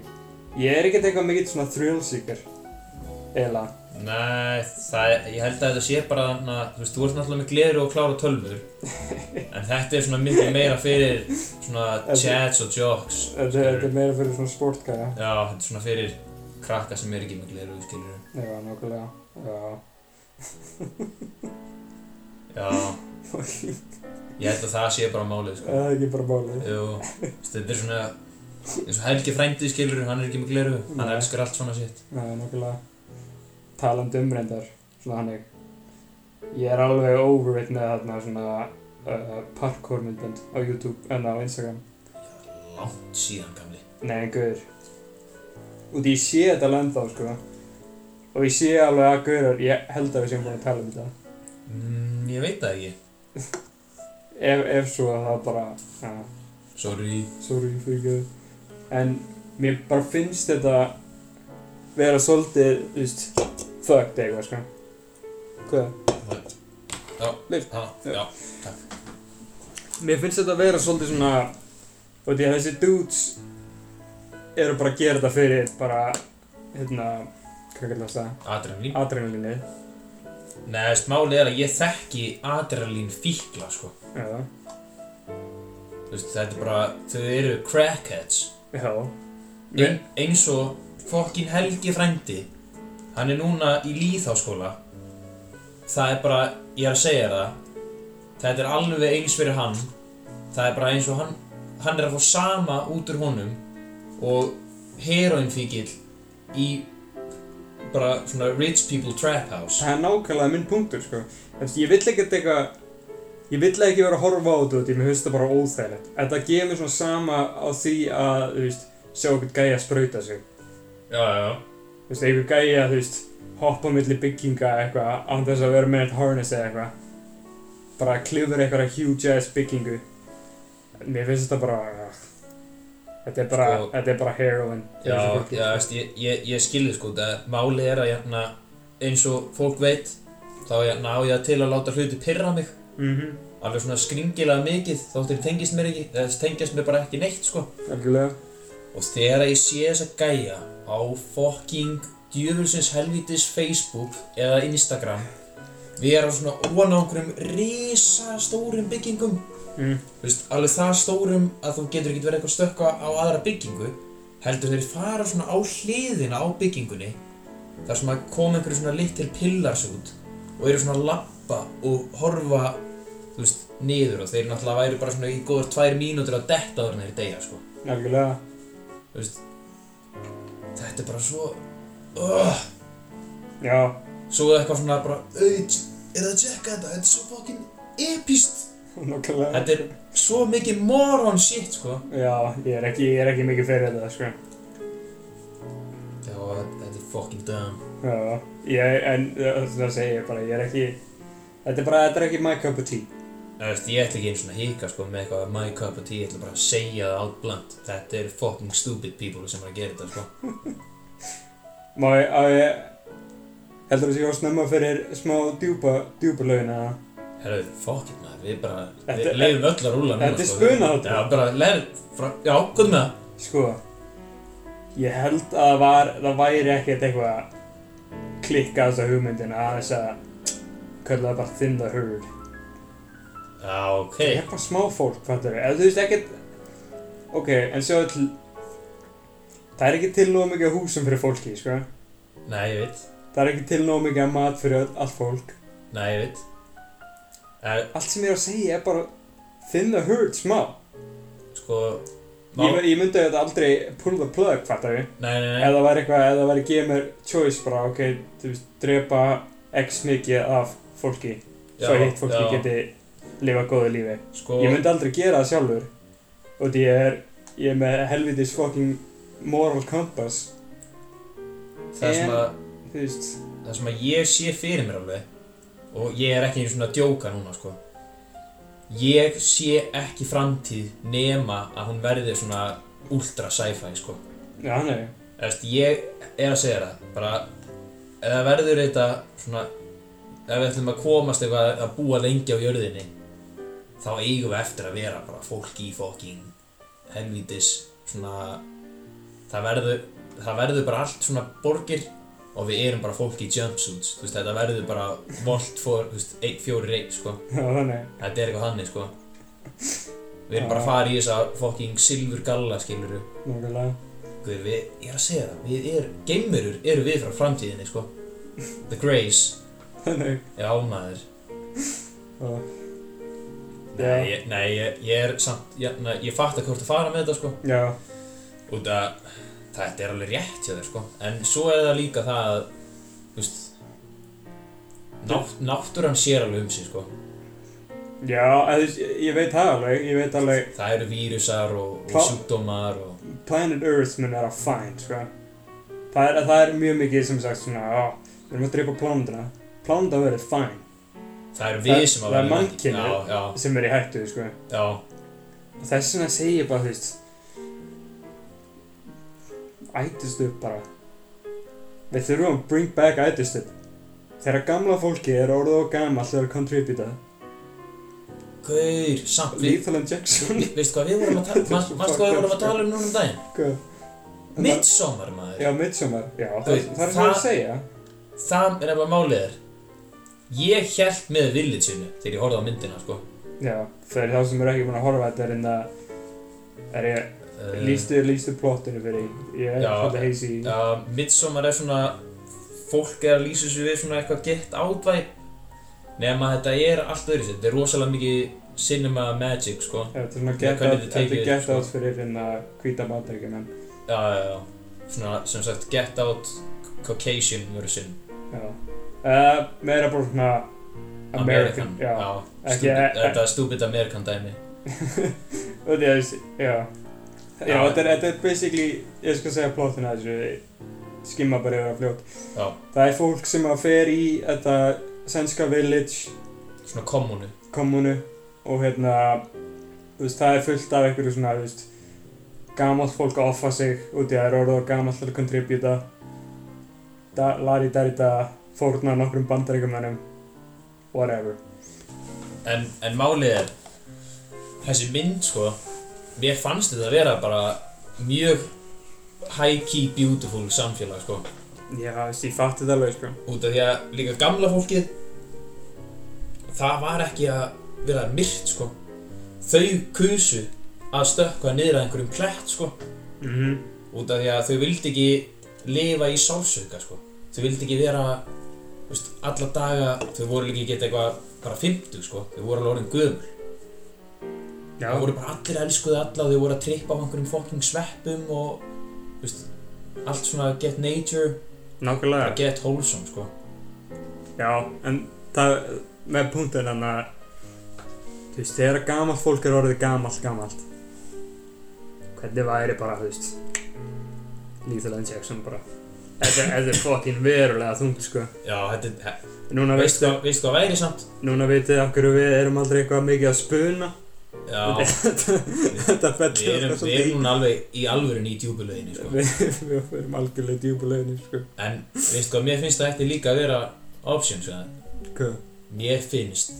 [SPEAKER 2] Ég er ekkert eitthvað mikið svona thrill-seeker. Eila.
[SPEAKER 1] nei, það, er- ég held að þetta sé bara, na, þú veist, þú ert náttúrulega með gleru og klára tölvur. en þetta er svona mikið meira fyrir svona chats og jokes.
[SPEAKER 2] Þetta þetta er meira fyrir svona sportgæja.
[SPEAKER 1] Já, þetta er svona fyrir krakka sem er ekki með gleru, skilur
[SPEAKER 2] Já, nokkulega. Já.
[SPEAKER 1] Já, ég held að það sé bara málið, sko
[SPEAKER 2] Það er ekki bara bálið.
[SPEAKER 1] Jú, veist, þetta er svona eins og Helgi frændi, skilur hann er ekki með gleru, hann
[SPEAKER 2] Nei.
[SPEAKER 1] elskar allt svona sitt
[SPEAKER 2] Já, nokkulega. Talandi um reyndar. Svona hannig. Ég er alveg over it með þarna svona uh, parkourmyndbönd á YouTube, en á Instagram.
[SPEAKER 1] Langt síðan, gamli
[SPEAKER 2] Nei, guður. Út í ég sé þetta land þá, sko. Og ég sé alveg að guður, ég held að við séum búin að tala um þetta.
[SPEAKER 1] mm, Ég veit það ekki,
[SPEAKER 2] Ef, ef svo að það bara, ja,
[SPEAKER 1] sorry
[SPEAKER 2] sorry fyrir guður. En mér bara finnst þetta vera svolítið, þú veist, fucked eitthvað, sko. Hvað?
[SPEAKER 1] ha, Já,
[SPEAKER 2] Mér finnst þetta vera svolítið svona, og því að þessi dudes eru bara að gera þetta fyrir bara, hérna, hvað kallast það?
[SPEAKER 1] adrenalín
[SPEAKER 2] Adrenalinnið.
[SPEAKER 1] Nei, veist, málið er að ég þekki adrenalín fíkla, sko
[SPEAKER 2] Já,
[SPEAKER 1] Þú veist, Þetta er bara, þau eru crackheads
[SPEAKER 2] já.
[SPEAKER 1] Ein, eins og fokkin Helgi frændi hann er núna í líðháskóla það er bara, ég er að segja þér það þetta er alveg eins fyrir hann það er bara eins og hann hann er að fá sama út úr honum og heroinfíkil í bara svona rich people trap house
[SPEAKER 2] Það er nákvæmlega minn punktur, sko. Eftir, ég vill ekkert eitthvað... Ég vill ekki vera að horfa á þetta út, í, mér finnst það bara óþægilegt. Þetta gefur svona sama á því að, þú veist, sjá einhvern gæja sprauta sig.
[SPEAKER 1] já, já,
[SPEAKER 2] Þú veist, einhvern gæja, þú veist, hoppa á milli bygginga eitthvað, án þess að vera með eitt harness eða eitthvað. Bara klifur eitthvað huge ass byggingu. Mér finnst þetta bara... ugh. Þetta er bara,
[SPEAKER 1] Sko-
[SPEAKER 2] þetta er bara heroin. fyrir þessu
[SPEAKER 1] já,
[SPEAKER 2] fólki,
[SPEAKER 1] já
[SPEAKER 2] sko.
[SPEAKER 1] veist, ég, ég, ég skilði sko það málið er að jæna, eins og fólk veit þá jæna, á ég til að láta hluti pyrra mig
[SPEAKER 2] Mhm,
[SPEAKER 1] alveg svona skringilega mikið þótt þeir tengist mér ekki, eða tengist mér bara ekki neitt sko.
[SPEAKER 2] algjörlega.
[SPEAKER 1] Og þegar ég sé þessa gæja á fucking djöfulsins helvitis Facebook eða Instagram við erum svona ofan á einhverjum risastórum byggingum
[SPEAKER 2] Mm.
[SPEAKER 1] Þú veist, alveg það stórum að þú getur ekki verið eitthvað stökka á aðra byggingu heldur þeir fara svona á hliðina á byggingunni þar sem að koma einhverju svona little pillars út og eru svona að lappa og horfa þú veist, niður og þeir náttúrulega væri bara svona í góðar tvær mínútur að detta þarna þeir degja sko.
[SPEAKER 2] Algjörlega.
[SPEAKER 1] Þú veist, þetta er bara svo uh,
[SPEAKER 2] Já.
[SPEAKER 1] svo er eitthvað svona bara "Ey, er það að checka þetta, þetta er svo fokkin epist
[SPEAKER 2] Nákvæmlega.
[SPEAKER 1] þetta er svo mikið moron shit sko
[SPEAKER 2] Já, ég er ekki, ég er ekki mikið fyrir þetta, sko.
[SPEAKER 1] Já, þetta er fucking dumb.
[SPEAKER 2] Já, ég, en uh, það segi ég bara, ég er ekki, þetta er bara, þetta er ekki my cup of tea.
[SPEAKER 1] Þú veist, ég ætla ekki einu svona hika sko með eitthvað my cup of tea, ég ætla bara að segja það out blunt. Þetta eru fucking stupid people sem er að gera þetta sko.
[SPEAKER 2] Má ég, á ég, heldur þú séu að snemma fyrir smá djúpa, djúpa lögin eða?
[SPEAKER 1] Herru, fucking maður, við bara, við
[SPEAKER 2] Þetta-
[SPEAKER 1] leifum öll að rúla núna sko.
[SPEAKER 2] þetta er spunaháttur.
[SPEAKER 1] Já, bara leir, frá, já, hvað með það?
[SPEAKER 2] Sko, ég held að það var, það væri ekkert eitthvað klikka á þessa hugmyndina að þess að kalla það bara thin the herd.
[SPEAKER 1] Já, ok.
[SPEAKER 2] Það er bara smá fólk, fattur við. Ef þú veist ekkert, ok, en sjáðu til, Það er ekki til nóg mikið af húsum fyrir fólki, sko.
[SPEAKER 1] Nei, ég veit.
[SPEAKER 2] Það er ekki til nóg mikið af mat fyrir öll- allt fólk.
[SPEAKER 1] Nei, ég veit. Það er,
[SPEAKER 2] Allt sem ég er að segja er bara thin the herd smá.
[SPEAKER 1] sko... Má,
[SPEAKER 2] Ég, ég myndi þetta aldrei pull the plug, fattar við.
[SPEAKER 1] nei, nei, nei.
[SPEAKER 2] Ef það væri eitthvað, ef það væri gefið mér choice bara, ok, þú veist, drepa x mikið af fólki. Svo hitt fólki geti lifa góðu lífi.
[SPEAKER 1] Sko,
[SPEAKER 2] Ég myndi aldrei gera það sjálfur. Og því ég er, ég er með helvitis fucking moral compass.
[SPEAKER 1] það sem að...
[SPEAKER 2] Þú veist,
[SPEAKER 1] það sem að ég sé fyrir mér alveg og ég er ekki einu svona að djóka núna sko ég sé ekki framtíð nema að hún verði svona ultra sci-fi sko
[SPEAKER 2] já, nei.
[SPEAKER 1] Eftir, ég er að segja þér það bara ef það verður þetta svona ef við ætlum að komast eitthvað að- að búa lengi á jörðinni þá eigum við eftir að vera bara fólk í fokking helvítis svona það verður það verður bara allt svona borgir og við erum bara fólk í jumpsuits þú veist, þetta verður bara volt for, þú veist, ein, fjóri reik sko.
[SPEAKER 2] Já, þannig.
[SPEAKER 1] þetta er eitthvað hannig sko. við erum bara að fara í þessa fokking silfur galla skiluru
[SPEAKER 2] Nákvæmlega.
[SPEAKER 1] Guð, við, ég er að segja það, við erum, geimurur eru við frá framtíðinni, sko. The Grace
[SPEAKER 2] Þannig.
[SPEAKER 1] er ámaður.
[SPEAKER 2] Já.
[SPEAKER 1] Nei, ég, nei, ég, ég er samt, ég, na, ég fatt að hvort að fara með þetta, sko.
[SPEAKER 2] Já,
[SPEAKER 1] Út að þetta er alveg rétt hjá þér, sko. En svo er það líka það að, þú veist, nátt, náttúran sér alveg um sig, sko.
[SPEAKER 2] já, að þú veist, ég ég veit það alveg, ég veit alveg
[SPEAKER 1] Það eru vírusar og, og
[SPEAKER 2] Hva-
[SPEAKER 1] sjúkdómar og,
[SPEAKER 2] Planet Earth mun vera fine, sko. Það er, það er mjög mikið sem sagt svona, já, við erum að dreipa plánundina. Plánunda verður fine,
[SPEAKER 1] það eru við
[SPEAKER 2] Það-
[SPEAKER 1] sem að
[SPEAKER 2] það er
[SPEAKER 1] verðum að-
[SPEAKER 2] mannkynið.
[SPEAKER 1] Já,
[SPEAKER 2] sem er í hættu, sko.
[SPEAKER 1] já, já.
[SPEAKER 2] Og Þess vegna segi ég bara, þú veist, ættist upp bara. Við þurfum að bring back ættist upp. Þegar gamla fólki er orðið og gamall til að contributa.
[SPEAKER 1] Gaur, samt, við,
[SPEAKER 2] Lethal Injection,
[SPEAKER 1] við- veistu hvað við vorum að tala, manst manstu hvað við vorum að tala um núna um daginn?
[SPEAKER 2] sko.
[SPEAKER 1] Midsommar maður
[SPEAKER 2] Já, Midsommar, já, það,
[SPEAKER 1] Guð,
[SPEAKER 2] það er
[SPEAKER 1] það-
[SPEAKER 2] það að segja.
[SPEAKER 1] Það er nefnilega málið er Ég held með villitsinu þegar ég horfði á myndina sko
[SPEAKER 2] Já, fyrir þá sem eru ekki búin að horfa þetta er hérna er ég,
[SPEAKER 1] uh,
[SPEAKER 2] lístu, lístu plottinu fyrir ég er
[SPEAKER 1] Já,
[SPEAKER 2] svolítið heisi í
[SPEAKER 1] ja, Midsommar er svona Fólk er að lýsa sig við svona eitthvað gett átvæg Nefna þetta er allt öðru Þetta er rosalega mikið cinema magic sko
[SPEAKER 2] þetta er svona
[SPEAKER 1] Já,
[SPEAKER 2] get
[SPEAKER 1] hvernig
[SPEAKER 2] out,
[SPEAKER 1] þið
[SPEAKER 2] þetta
[SPEAKER 1] tekið sko.
[SPEAKER 2] er get
[SPEAKER 1] þessu,
[SPEAKER 2] out fyrir hérna hvíta bandaríkjumenn
[SPEAKER 1] Já, já, já Svona sem sagt get out Caucasian version
[SPEAKER 2] já uh, meira bara svona American, já, já. Ekki-
[SPEAKER 1] stupid,
[SPEAKER 2] eh, eh.
[SPEAKER 1] Þetta er stupid American dæmi
[SPEAKER 2] og því að þessi- já já,
[SPEAKER 1] Já.
[SPEAKER 2] þetta er, þetta er basically ég skal segja plottinu að þessu skimma bara yfir að fljótt
[SPEAKER 1] Já,
[SPEAKER 2] það er fólk sem að fer í þetta sænska village
[SPEAKER 1] svona kommunu
[SPEAKER 2] kommunu og hérna þú veist, það er fullt af einhverju svona þú veist, gamalt fólk að offa sig út í að það er orðið og gamalt til að kontributa da, lari dæri dag fórna nokkrum bandaríkjumennum whatever
[SPEAKER 1] En, en málið er Þessi mynd sko Mér fannst þetta að vera bara Mjög high-key beautiful samfélag sko
[SPEAKER 2] já, þú veist, ég fatti það alveg sko
[SPEAKER 1] Út af því að líka gamla fólkið Það var ekki að vera myrt sko Þau kusu að stökkva niður að einhverjum klett sko
[SPEAKER 2] mm -hmm.
[SPEAKER 1] Út af því að þau vildi ekki lifa í sálsauka sko Þau vildi ekki vera þú veist, Alla daga Þau voru líka ekki eitthvað bara 50 sko Þau voru alveg orðin gömul
[SPEAKER 2] já,
[SPEAKER 1] Það voru bara allir elskuði alla, þau voru að trippa á einhverjum fokking sveppum og þú veist, allt svona get nature,
[SPEAKER 2] nákvæmlega
[SPEAKER 1] get wholesome sko.
[SPEAKER 2] já, en það með punktinn hann að þú veist, þegar gamalt fólk er orðið gamalt, gamalt hvernig væri bara, þú veist Lethal Injection bara Þetta þetta er fucking verulega þungt, sko
[SPEAKER 1] Já, þetta er,
[SPEAKER 2] Núna
[SPEAKER 1] veist
[SPEAKER 2] veistu,
[SPEAKER 1] hvað, veist hvað væri samt?
[SPEAKER 2] núna vitið af hverju við erum aldrei eitthvað mikið að spuna
[SPEAKER 1] Já,
[SPEAKER 2] Þetta
[SPEAKER 1] við
[SPEAKER 2] fellur
[SPEAKER 1] erum, við erum núna alveg í alvörun í djúbulöginni sko.
[SPEAKER 2] Við, við erum algjörlega djúbulegin, sko
[SPEAKER 1] En veist hvað, mér finnst það ekki líka að vera option, sko.
[SPEAKER 2] Hvað?
[SPEAKER 1] Mér finnst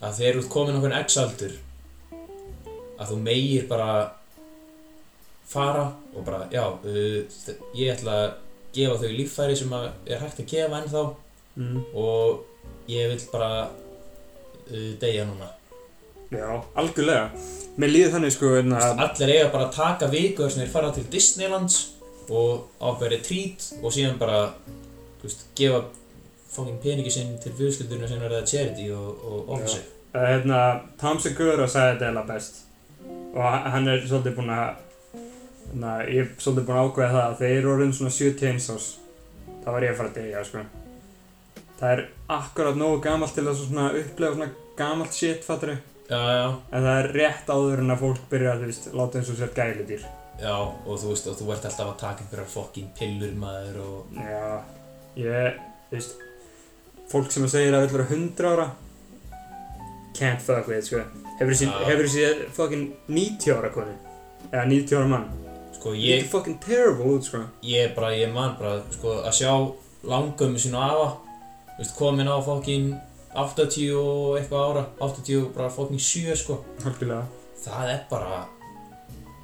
[SPEAKER 1] að þegar þú ert komin okkur x-aldur að þú meir bara fara og bara, já, uh, þ- ég ætla að gefa þau líffæri sem að er hægt að gefa ennþá
[SPEAKER 2] Mm.
[SPEAKER 1] og ég vil bara uh, deyja núna
[SPEAKER 2] Já, algjörlega. Mér líður þannig sko hérna að...
[SPEAKER 1] Allir eiga bara að taka viku þess að þeir fara til Disneylands og ábæri trít og síðan bara þú veist, gefa fangin peningi sinn til fjöðsluturinn sem verða charity og, og ofsa sig.
[SPEAKER 2] Uh, hérna, Tamsi Guðra sagði þetta eiginlega best og h- hann er svolítið búinn að hérna, ég er svolítið búinn að ákveða það að þegar ég er orðin svona 71 árs þá var ég að fara að deyja, sko það er akkurat nógu gamalt til að svona upplega svona gamalt shit, fattari
[SPEAKER 1] Já, já,
[SPEAKER 2] en það er rétt áður en að fólk byrja að, þú veist, láta eins og sér gæludýr
[SPEAKER 1] já, og þú veist, og þú ert alltaf að taka einhverjar fokkin pillur maður og...
[SPEAKER 2] já, ég, þú veist fólk sem að segir að öllur 100 ára can't fuck with, sko hefur séð,
[SPEAKER 1] Já.
[SPEAKER 2] hefur séð fucking 90 ára konu eða 90 ára mann
[SPEAKER 1] Sko,
[SPEAKER 2] Ég...
[SPEAKER 1] ég,
[SPEAKER 2] Þetta er fucking terrible út, sko.
[SPEAKER 1] ég bara, ég man bara, sko, að sjá langömmu sín og afa, þú veist, komin á fokkin 80 og eitthvað ára, 80 og bara fokkin 7, sko.
[SPEAKER 2] Algjörlega.
[SPEAKER 1] Það er bara,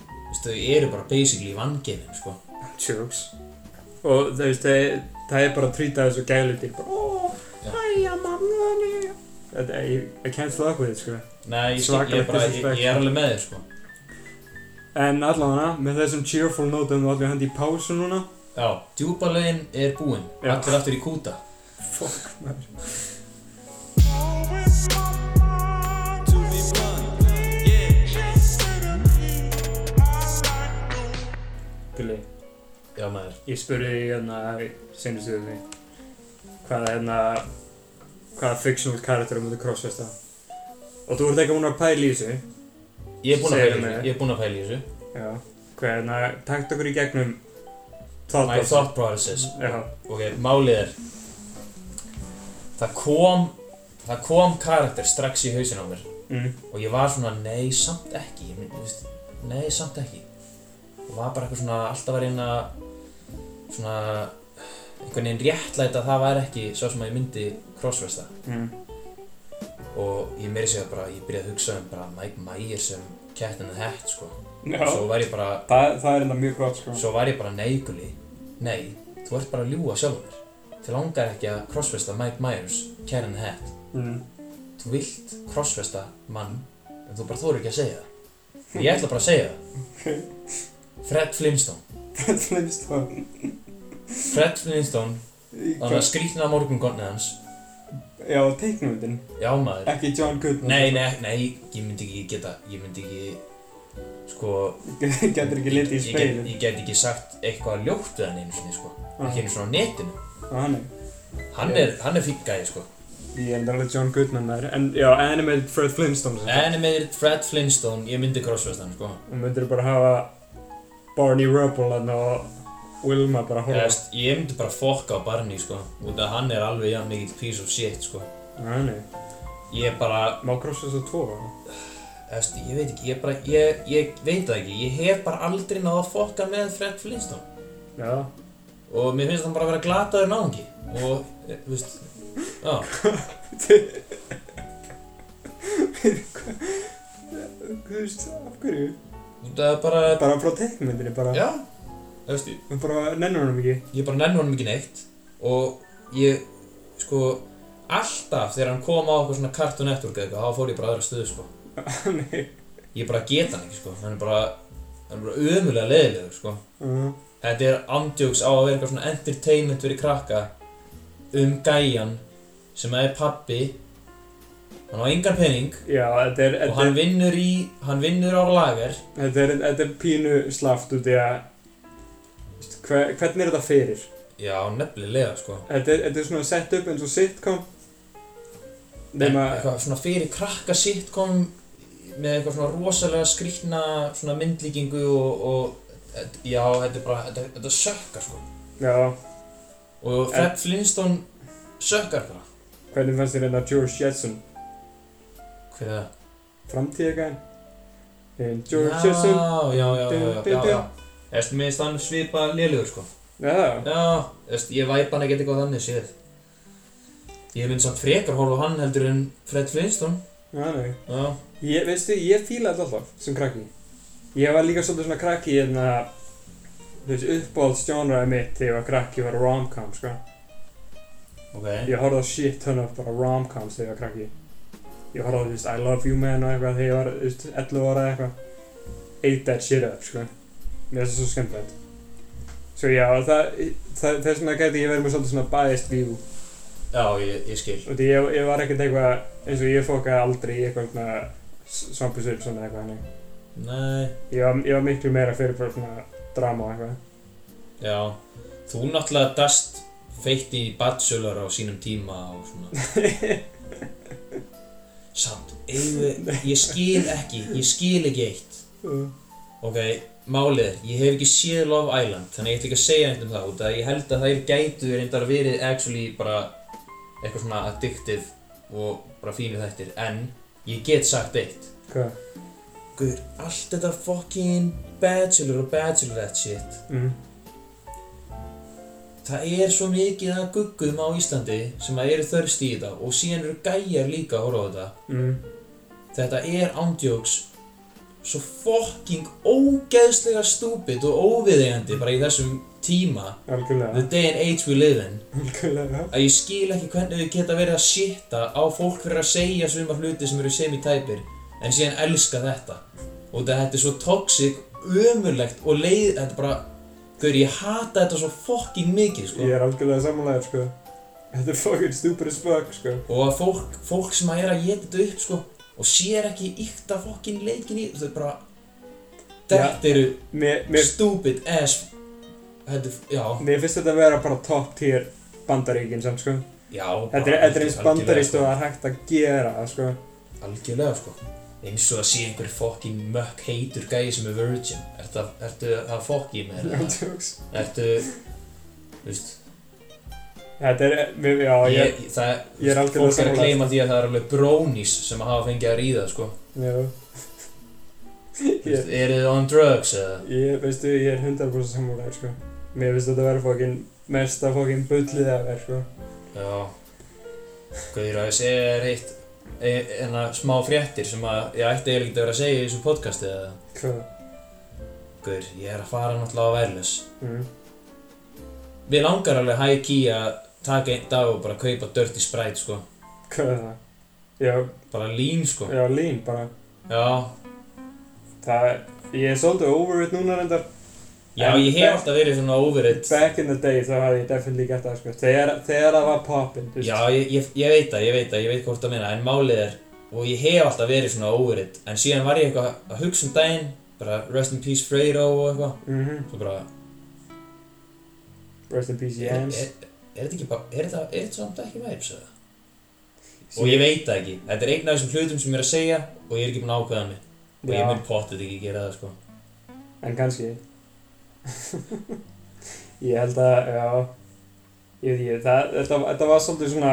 [SPEAKER 1] þú veist, þau eru bara basically í vangefin, sko.
[SPEAKER 2] Jokes. Og þú veist, það, það er bara að trýta þessu gælutir. Bara, ó,
[SPEAKER 1] Já.
[SPEAKER 2] hæja mamma henni. Þetta, ég, I can't fuck with it, sko.
[SPEAKER 1] Nei, ég, skil, ég,
[SPEAKER 2] Svakalegt
[SPEAKER 1] er bara, ég,
[SPEAKER 2] disrespect.
[SPEAKER 1] ég er alveg með þér, sko.
[SPEAKER 2] En allavega, með þessum cheerful nótum og allir hendi í pásu núna.
[SPEAKER 1] Já, djúbalögin er búinn,
[SPEAKER 2] Já.
[SPEAKER 1] allir aftur í kúta.
[SPEAKER 2] Fuck, maður.
[SPEAKER 3] To be blunt, yeah.
[SPEAKER 2] Gulli,
[SPEAKER 1] Já, maður.
[SPEAKER 2] ég spurði því hérna, senustu því, hvaða hérna, hvaða fictional karakter um þetta crossfesta. Og þú ert ekki búinn að pæla í þessu.
[SPEAKER 1] Ég er búinn að
[SPEAKER 2] Segðu
[SPEAKER 1] pæla í
[SPEAKER 2] mér.
[SPEAKER 1] þessu, ég er búinn að pæla í þessu.
[SPEAKER 2] Já. Hvernig, hérna, takt okkur í gegnum
[SPEAKER 1] My
[SPEAKER 2] þátt
[SPEAKER 1] thought process.
[SPEAKER 2] Já.
[SPEAKER 1] Ok, málið er Það kom Það kom karakter strax í hausin á mér
[SPEAKER 2] Mm.
[SPEAKER 1] Og ég var svona, nei, samt ekki ég, mynd- þú veist, Nei, samt ekki Og var bara eitthvað svona, alltaf var einn að Svona Einhvern veginn réttlæta að það væri ekki Svo sem að ég myndi crossfesta
[SPEAKER 2] Mm.
[SPEAKER 1] Og ég meiri segja bara, ég byrjaði að hugsa um bara Mike Myers sem Cat in the Hat, sko
[SPEAKER 2] Já.
[SPEAKER 1] Svo var ég bara,
[SPEAKER 2] Það, það er enda mjög gott sko.
[SPEAKER 1] svo var ég bara neiguli Nei, þú ert bara að ljúga sjálfur þér. Þið langar ekki að crossfesta Mike Myers, Cat in the Hat
[SPEAKER 2] Mm.
[SPEAKER 1] Þú vilt crossfesta mann en þú bara þóru ekki að segja það Og Ég ætla bara að segja það Fred Flintstone
[SPEAKER 2] Fred Flintstone.
[SPEAKER 1] Fred Flintstone, þannig að skrýtna morgungonni hans
[SPEAKER 2] Já, teiknumundin.
[SPEAKER 1] Já maður
[SPEAKER 2] Ekki John Goodman. sko.
[SPEAKER 1] Nei, nei, nei, ég myndi ekki geta Ég myndi ekki Sko
[SPEAKER 2] Getur ekki litið í
[SPEAKER 1] ég get,
[SPEAKER 2] speilin.
[SPEAKER 1] ég get ekki sagt eitthvað ljótt við hann einu sinni sko Ekki einu svona á netinu
[SPEAKER 2] Og Ah. hann er.
[SPEAKER 1] Hann
[SPEAKER 2] Já.
[SPEAKER 1] er, hann er fíkk gæði sko
[SPEAKER 2] Ég enda alveg John Goodman maður. En já, animated Fred Flintstone sem sagt.
[SPEAKER 1] Animated Fred Flintstone, ég myndi crossfesta hann sko
[SPEAKER 2] Og myndir bara hafa Barney Rubble hann og Wilma bara að
[SPEAKER 1] Eða,
[SPEAKER 2] horfa.
[SPEAKER 1] veist, Ég myndi bara fokka á Barney sko Út af hann er alveg jafn mikill piece of shit sko
[SPEAKER 2] Og Ah, hann er.
[SPEAKER 1] Ég er bara,
[SPEAKER 2] Má krossa þessu tvo. eða?
[SPEAKER 1] eftir, ég veit ekki, ég, er bara, ég, ég veit það ekki, ég hef bara aldrei náð að fokka með Fred Flintstone
[SPEAKER 2] Já.
[SPEAKER 1] og mér finnst hann bara að vera glataður náðungi og, eh, þú veist, já,
[SPEAKER 2] Þú veist, af hverju?
[SPEAKER 1] það er bara,
[SPEAKER 2] Bara frá teiknumundinni bara.
[SPEAKER 1] já, eftir,
[SPEAKER 2] Hún bara nennur hann ekki.
[SPEAKER 1] ég bara nenni honum ekki neitt og ég, sko, alltaf þegar hann kom á eitthvað svona Cartoon Network eða eitthvað, þá fór ég bara aðra stöðu, sko,
[SPEAKER 2] Nei.
[SPEAKER 1] ég bara get hann ekki, sko, hann er bara, hann er bara ömulega leiðilegur, sko.
[SPEAKER 2] Uh,
[SPEAKER 1] Þetta er andjóks á að vera eitthvað svona entertainment fyrir krakka um gæjan sem er pabbi hann á engan pening
[SPEAKER 2] já, þetta er...
[SPEAKER 1] og hann vinnur í hann vinnur á lager
[SPEAKER 2] Þetta er, þetta er pínu slaft út í að veist, hve, hvernig er þetta fyrir?
[SPEAKER 1] já, nefnilega sko
[SPEAKER 2] Þetta er, þetta er svona sett upp eins og sitcom nema
[SPEAKER 1] eitthvað svona fyrir krakka sitcom með eitthvað svona rosalega skrýtna svona myndlíkingu og, og já, þetta er bara þetta, þetta sökkar sko
[SPEAKER 2] já,
[SPEAKER 1] og Fred Flintstone sökkar bara
[SPEAKER 2] hvernig fannst þér hérna George Jetson
[SPEAKER 1] hver er það?
[SPEAKER 2] framtíðagæn Eh, George
[SPEAKER 1] já,
[SPEAKER 2] Jetson
[SPEAKER 1] já, já, já, já, já,
[SPEAKER 2] Dun, dun,
[SPEAKER 1] já. Eftir mér finnst hann svipa lélugur sko
[SPEAKER 2] já,
[SPEAKER 1] Já, þú veist, ég væp hann ekkert eitthvað þannig séð Ég mynd samt frekar horfa á hann heldur en Fred Flintstone
[SPEAKER 2] já, nei
[SPEAKER 1] Já,
[SPEAKER 2] ég, veistu, ég fíla þetta alltaf sem krakki ég var líka svolítið svona krakki hérna þú veist, uppáhaldsjónraði mitt þegar ég var krakki var rom-com, sko
[SPEAKER 1] ok
[SPEAKER 2] ég horfði á shit ton of bara rom-coms þegar ég var krakki ég horfði á, þú veist, I love you man og eitthvað þegar ég var, þú veist, 11 ára eða eitthvað ate that shit up, sko mér finnst það svo skemmtilegt svo já, það, það, þess vegna gæti ég verið með svolítið svona biased view
[SPEAKER 1] Já, ég, ég skil.
[SPEAKER 2] og því ég, ég var ekkert eitthvað eins og ég fókaði aldrei í eitthvað svona svampus upp svona eitthvað hannig
[SPEAKER 1] Nei,
[SPEAKER 2] ég var, ég var miklu meira fyrir bara svona drama og eitthvað
[SPEAKER 1] já. Þú náttúrulega dast feitt í bachelor á sínum tíma og svona. Samt, eigum við, ég skil ekki, ég skil ekki eitt. Ok, málið er, ég hef ekki séð Love Island, þannig ég ætla ekki að segja neitt um það út að ég held að þær gætu reyndar verið actually bara eitthvað svona addictive og bara fínu þættir, en ég get sagt eitt.
[SPEAKER 2] hvað?
[SPEAKER 1] Guður, allt þetta fucking bachelor og bachelorette shit
[SPEAKER 2] Mm.
[SPEAKER 1] Það er svo mikið að guggum á Íslandi sem að eru þörst í þetta og síðan eru gæjar líka að horfa á þetta.
[SPEAKER 2] Mm.
[SPEAKER 1] Þetta er ándjóks svo fucking ógeðslega stúpid og óviðeigandi bara í þessum tíma, the
[SPEAKER 2] algjörlega
[SPEAKER 1] day and age we live in,
[SPEAKER 2] algjörlega
[SPEAKER 1] að ég skil ekki hvernig þau geta verið að shitta á fólk fyrir að segja svima hluti sem eru semi-tæpir en síðan elska þetta. Og þetta er svo toxic, ömurlegt og leið, þetta er bara, gaur, ég hata þetta svo fucking mikið, sko.
[SPEAKER 2] Ég er algjörlega samanlegaður sko Þetta er fucking stupid as fuck sko
[SPEAKER 1] og að fólk, fólk sem að er að geta þetta upp sko, og sér ekki ykta fokkin leikin í þau bara þetta eru
[SPEAKER 2] Mér, mér,
[SPEAKER 1] stupid ass þetta, er- já,
[SPEAKER 2] mér finnst þetta að vera bara top tier bandaríkin sem sko
[SPEAKER 1] já bara
[SPEAKER 2] Þetta er, þetta er eins
[SPEAKER 1] algjörlega,
[SPEAKER 2] bandaríst og
[SPEAKER 1] sko.
[SPEAKER 2] það er hægt að gera það sko
[SPEAKER 1] algjörlega sko eins og að sé einhver fokkin mökk heitur gæi sem er virgin ertu, ertu að fokki með
[SPEAKER 2] No
[SPEAKER 1] þetta
[SPEAKER 2] jokes.
[SPEAKER 1] ertu þú veist,
[SPEAKER 2] Þetta er, mér, já ég
[SPEAKER 1] ég, það,
[SPEAKER 2] ég er algjörlega
[SPEAKER 1] fólk er að
[SPEAKER 2] sammála.
[SPEAKER 1] kleima því að það er alveg brónis sem að hafa fengið að ríða sko
[SPEAKER 2] Já
[SPEAKER 1] Þú veist, eru þið on drugs eða
[SPEAKER 2] Ég, veistu, ég er 100% samanlegaður sko Mér finnst þetta að vera fucking mesta fucking bullið að vera sko
[SPEAKER 1] Já Guður að ég segja þér eitt e- hérna smá fréttir sem að ég ætti eiginlega ekki að vera að segja í þessu podcasti eða
[SPEAKER 2] Hvað?
[SPEAKER 1] Guður, ég er að fara náttúrulega á verðlus
[SPEAKER 2] Mm.
[SPEAKER 1] Við langar alveg high key að taka einn dag og bara kaupa Dirty Sprite sko
[SPEAKER 2] Hvað er það? Já,
[SPEAKER 1] bara lín sko
[SPEAKER 2] já, lín bara
[SPEAKER 1] Já,
[SPEAKER 2] Það, ég er svolítið over it núna reyndar
[SPEAKER 1] já
[SPEAKER 2] En
[SPEAKER 1] ég
[SPEAKER 2] back-
[SPEAKER 1] hef alltaf verið svona overit
[SPEAKER 2] Back in the day þá hafði ég definitely gert það sko Þegar, þegar það var poppin þú veist.
[SPEAKER 1] Já, ég, ég, ég veit það, ég veit það, ég veit hvort það meina en málið er, og ég hef alltaf verið svona overit en síðan var ég eitthvað að hugsa um daginn bara rest in peace Freyro og eitthvað
[SPEAKER 2] Mhm.
[SPEAKER 1] svo bara
[SPEAKER 2] Rest in peace
[SPEAKER 1] er,
[SPEAKER 2] Jens
[SPEAKER 1] er, er þetta ekki bara, er þetta, er þetta samt ekki vibes eða? eh, Og ég veit það ekki, þetta er einn af þessum hlutum sem ég er að segja og ég er ekki búinn að ákveða mig og ég
[SPEAKER 2] Já,
[SPEAKER 1] mun pottið ekki gera það sko
[SPEAKER 2] en kannski Ég held að, já Ég veit ekki, það, þetta, þetta var svolítið svona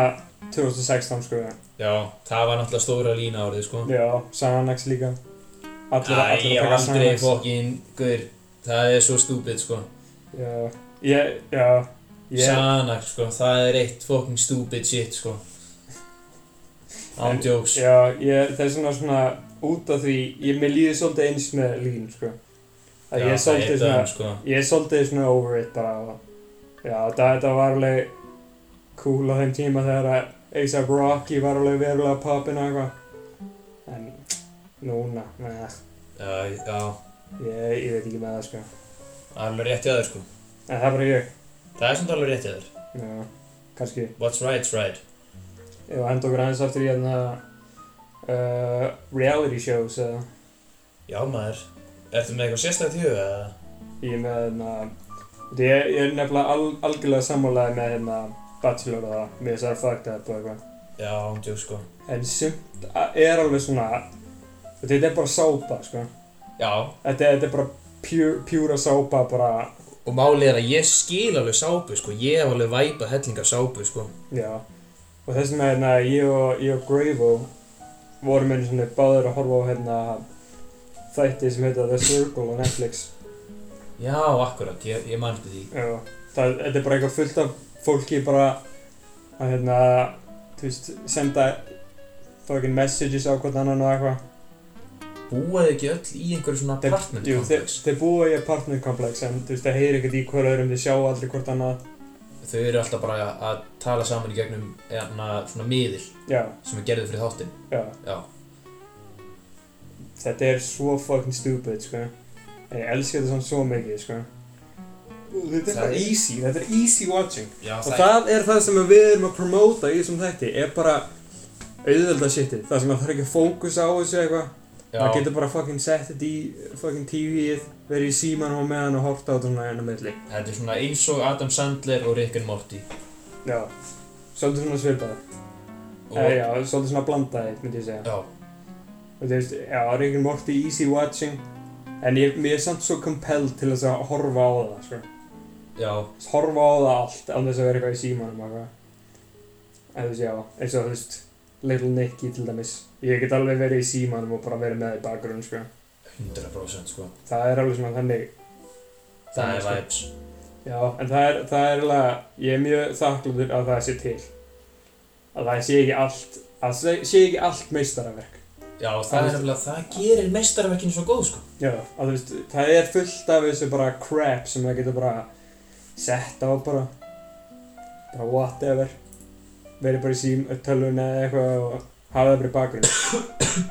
[SPEAKER 2] 2016 sko
[SPEAKER 1] Já, það var náttúrulega stóra lína árið sko
[SPEAKER 2] Já, Sanax líka Allir að,
[SPEAKER 1] Æ,
[SPEAKER 2] allir
[SPEAKER 1] ég
[SPEAKER 2] að
[SPEAKER 1] var
[SPEAKER 2] taka sko.
[SPEAKER 1] aldrei
[SPEAKER 2] Xanax.
[SPEAKER 1] fokkin, guður, það er svo stúpid sko
[SPEAKER 2] Já, ég, já Ég,
[SPEAKER 1] Sanax sko, það er eitt fokkin stúpid shit sko
[SPEAKER 2] En-
[SPEAKER 1] Ándjóks
[SPEAKER 2] Já, ég, það er svona svona út af því, ég, mér líði svolítið eins með lín, sko. Að ég er svolítið svona,
[SPEAKER 1] döm sko
[SPEAKER 2] ég er svolítið svona over it bara og já, þetta, þetta var alveg cool á þeim tíma þegar að A$AP Rocky var alveg verulega poppin og eitthvað en núna, neða,
[SPEAKER 1] Já, já,
[SPEAKER 2] ég, ég veit ekki með það sko
[SPEAKER 1] alveg rétt í aður sko
[SPEAKER 2] en það er bara ég,
[SPEAKER 1] Það er samt alveg rétt í aður
[SPEAKER 2] já, kannski
[SPEAKER 1] What's right's right
[SPEAKER 2] ef að henda okkur aðeins aftur í hérna uh, reality shows eða
[SPEAKER 1] Já maður, ertu með eitthvað sérstætt í huga eða?
[SPEAKER 2] ég er með hérna ég, ég er nefnilega al, algjörlega sammálaði með hérna Bachelor og það, mér þess að fucked up og eitthvað
[SPEAKER 1] Já, ándjók sko
[SPEAKER 2] En sumt a- er alveg svona Þetta er bara sápa, sko
[SPEAKER 1] Já,
[SPEAKER 2] Þetta, þetta er bara pjúra pure, sápa bara,
[SPEAKER 1] og málið er að ég skil alveg sápu, sko Ég hef alveg væpað hellinga sápu, sko
[SPEAKER 2] já Og þess vegna hérna, ég og, ég og Gravo vorum einu svona báður að horfa á hérna þætti sem heita The Circle á Netflix
[SPEAKER 1] Já, akkurat, ég, ég mann eftir því
[SPEAKER 2] Já, það, þetta er bara eitthvað fullt af fólki bara að hérna, þú veist, senda fucking messages á hvort annan og eitthvað
[SPEAKER 1] Búaðu ekki öll í einhverju svona
[SPEAKER 2] Þeir-
[SPEAKER 1] apartment
[SPEAKER 2] Jú, þeir,
[SPEAKER 1] complex
[SPEAKER 2] þeir búa í apartment complex en þú veist, það heyrir ekkert í hver öðrum, þeir sjá aldrei hvort annað
[SPEAKER 1] þau eru alltaf bara að tala saman í gegnum eðna, svona miðil
[SPEAKER 2] Já,
[SPEAKER 1] sem er gerðið fyrir þáttinn
[SPEAKER 2] já.
[SPEAKER 1] já,
[SPEAKER 2] Þetta er svo fucking stupid, sko. En ég elska þetta samt svo mikið, sko. Þetta er
[SPEAKER 1] Það
[SPEAKER 2] bara
[SPEAKER 1] er-
[SPEAKER 2] easy, þetta er easy watching.
[SPEAKER 1] já
[SPEAKER 2] Og það er það sem við erum að promóta í þessum þætti, er bara auðvelda shitið. Það sem að það er ekki að fókusa á þessu eitthvað. Það
[SPEAKER 1] já,
[SPEAKER 2] getur bara fucking sett þetta í fucking TV-ið, verið í síman og meðan og horta á þetta svona enn á milli.
[SPEAKER 1] þetta er svona eins og Adam Sandler og Rick and Morty
[SPEAKER 2] Já. Svolítið svona svipað.
[SPEAKER 1] og,
[SPEAKER 2] Eða já, svolítið svona blandaðið, myndi ég segja.
[SPEAKER 1] já,
[SPEAKER 2] Og þú veist, já, Rick and Morty easy watching En ég, mér er samt svo compelled til þess að horfa á það, sko
[SPEAKER 1] já,
[SPEAKER 2] Þess að Horfa á það allt, án þess að vera eitthvað í símanum og eitthvað En þú veist, já, eins og þú veist Little Nicky til dæmis Ég get alveg verið í símanum og bara verið með það í bakgrunn, sko
[SPEAKER 1] 100% sko
[SPEAKER 2] Það er alveg svona þannig
[SPEAKER 1] það er
[SPEAKER 2] sko.
[SPEAKER 1] vibes
[SPEAKER 2] Já, en það er, það er alveg, ég er mjög þakklúður að það sé til Að það sé ekki allt, að það sé ekki allt meistaraverk
[SPEAKER 1] já,
[SPEAKER 2] Það
[SPEAKER 1] það
[SPEAKER 2] er-
[SPEAKER 1] er nefnilega, það gerir mestarverkinu svo góð sko
[SPEAKER 2] Já, að þú veist, það er fullt af þessu bara crap sem það getur bara sett á bara bara whatever verið bara í sím tölvuna eða eitthvað og hafa það bara í bakgrunn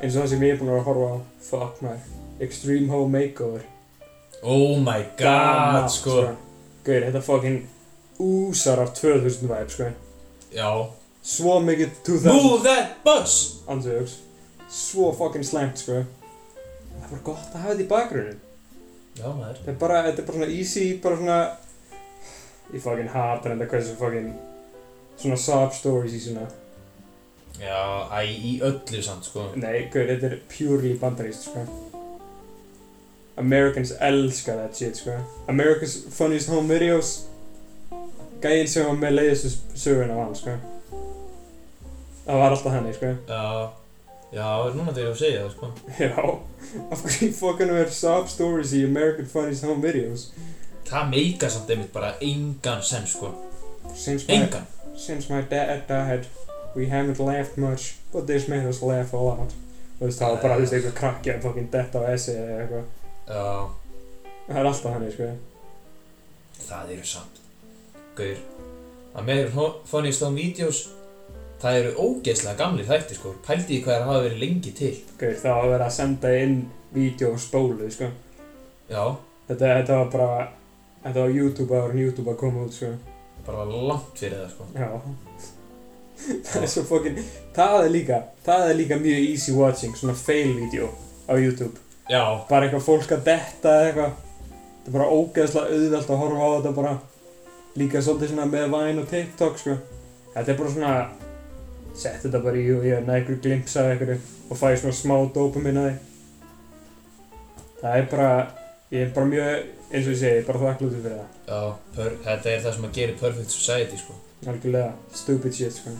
[SPEAKER 2] eins og það sem ég er búinn að vera að horfa á fuck maður Extreme Home Makeover
[SPEAKER 1] oh my god,
[SPEAKER 2] Gaman,
[SPEAKER 1] sko
[SPEAKER 2] Gauir, þetta fucking úsar af 2000 vibe sko
[SPEAKER 1] já,
[SPEAKER 2] svo mikið 2000
[SPEAKER 1] move that bus
[SPEAKER 2] ansögjóks svo fucking slæmt sko það er bara gott að hafa þetta í bakgrunn
[SPEAKER 1] já, maður,
[SPEAKER 2] Þetta er bara, þetta er bara svona easy, bara svona Ég fucking hata þetta hversu fucking Svona sob stories í svona
[SPEAKER 1] já, æ, í öllu samt sko
[SPEAKER 2] Nei, guður, þetta er purely bandarist, sko Americans elska that shit, sko America's Funniest Home Videos Gæinn sem var með leiðistu söguna á hann, sko Það var alltaf hann, sko
[SPEAKER 1] já, já, núna þegar ég að segja það sko
[SPEAKER 2] Já, af hverju fucking er sob stories í American Funniest Home Videos
[SPEAKER 1] það meika samt einmitt bara engan sem sko
[SPEAKER 2] Since my-
[SPEAKER 1] engan
[SPEAKER 2] Since my dad died, we haven't laughed much, but this made us laugh a lot. Þú veist, það var bara, þú veist, eitthvað krakki að fucking detta á essi eða eitthvað.
[SPEAKER 1] já,
[SPEAKER 2] Það er alltaf hann, sko.
[SPEAKER 1] það eru samt gaur að með Funniest Home Videos það eru ógeðslega gamlir þættir sko pældi í hvað það hafa verið lengi til
[SPEAKER 2] Gauð, það var að vera að senda inn vídeo og spólu, sko.
[SPEAKER 1] já,
[SPEAKER 2] Þetta, þetta var bara, þetta var YouTube ára en YouTube að koma út, sko.
[SPEAKER 1] bara langt fyrir það sko
[SPEAKER 2] Já. það er svo fucking, það er líka, það er líka mjög easy watching, svona fail-vídeó á YouTube.
[SPEAKER 1] já,
[SPEAKER 2] bara eitthvað fólk að detta eða eitthvað þetta er bara ógeðslega auðvelt að horfa á þetta bara líka svolítið svona með Vine og TikTok sko þetta er bara svona sett þetta bara í og ég er nægur glimps af einhverju og fæ svona smá dópamin að því það er bara ég er bara mjög eins og ég segi ég er bara þakklútið fyrir það
[SPEAKER 1] já, per, þetta er það sem að gera Perfect Society sko
[SPEAKER 2] algjörlega stupid shit sko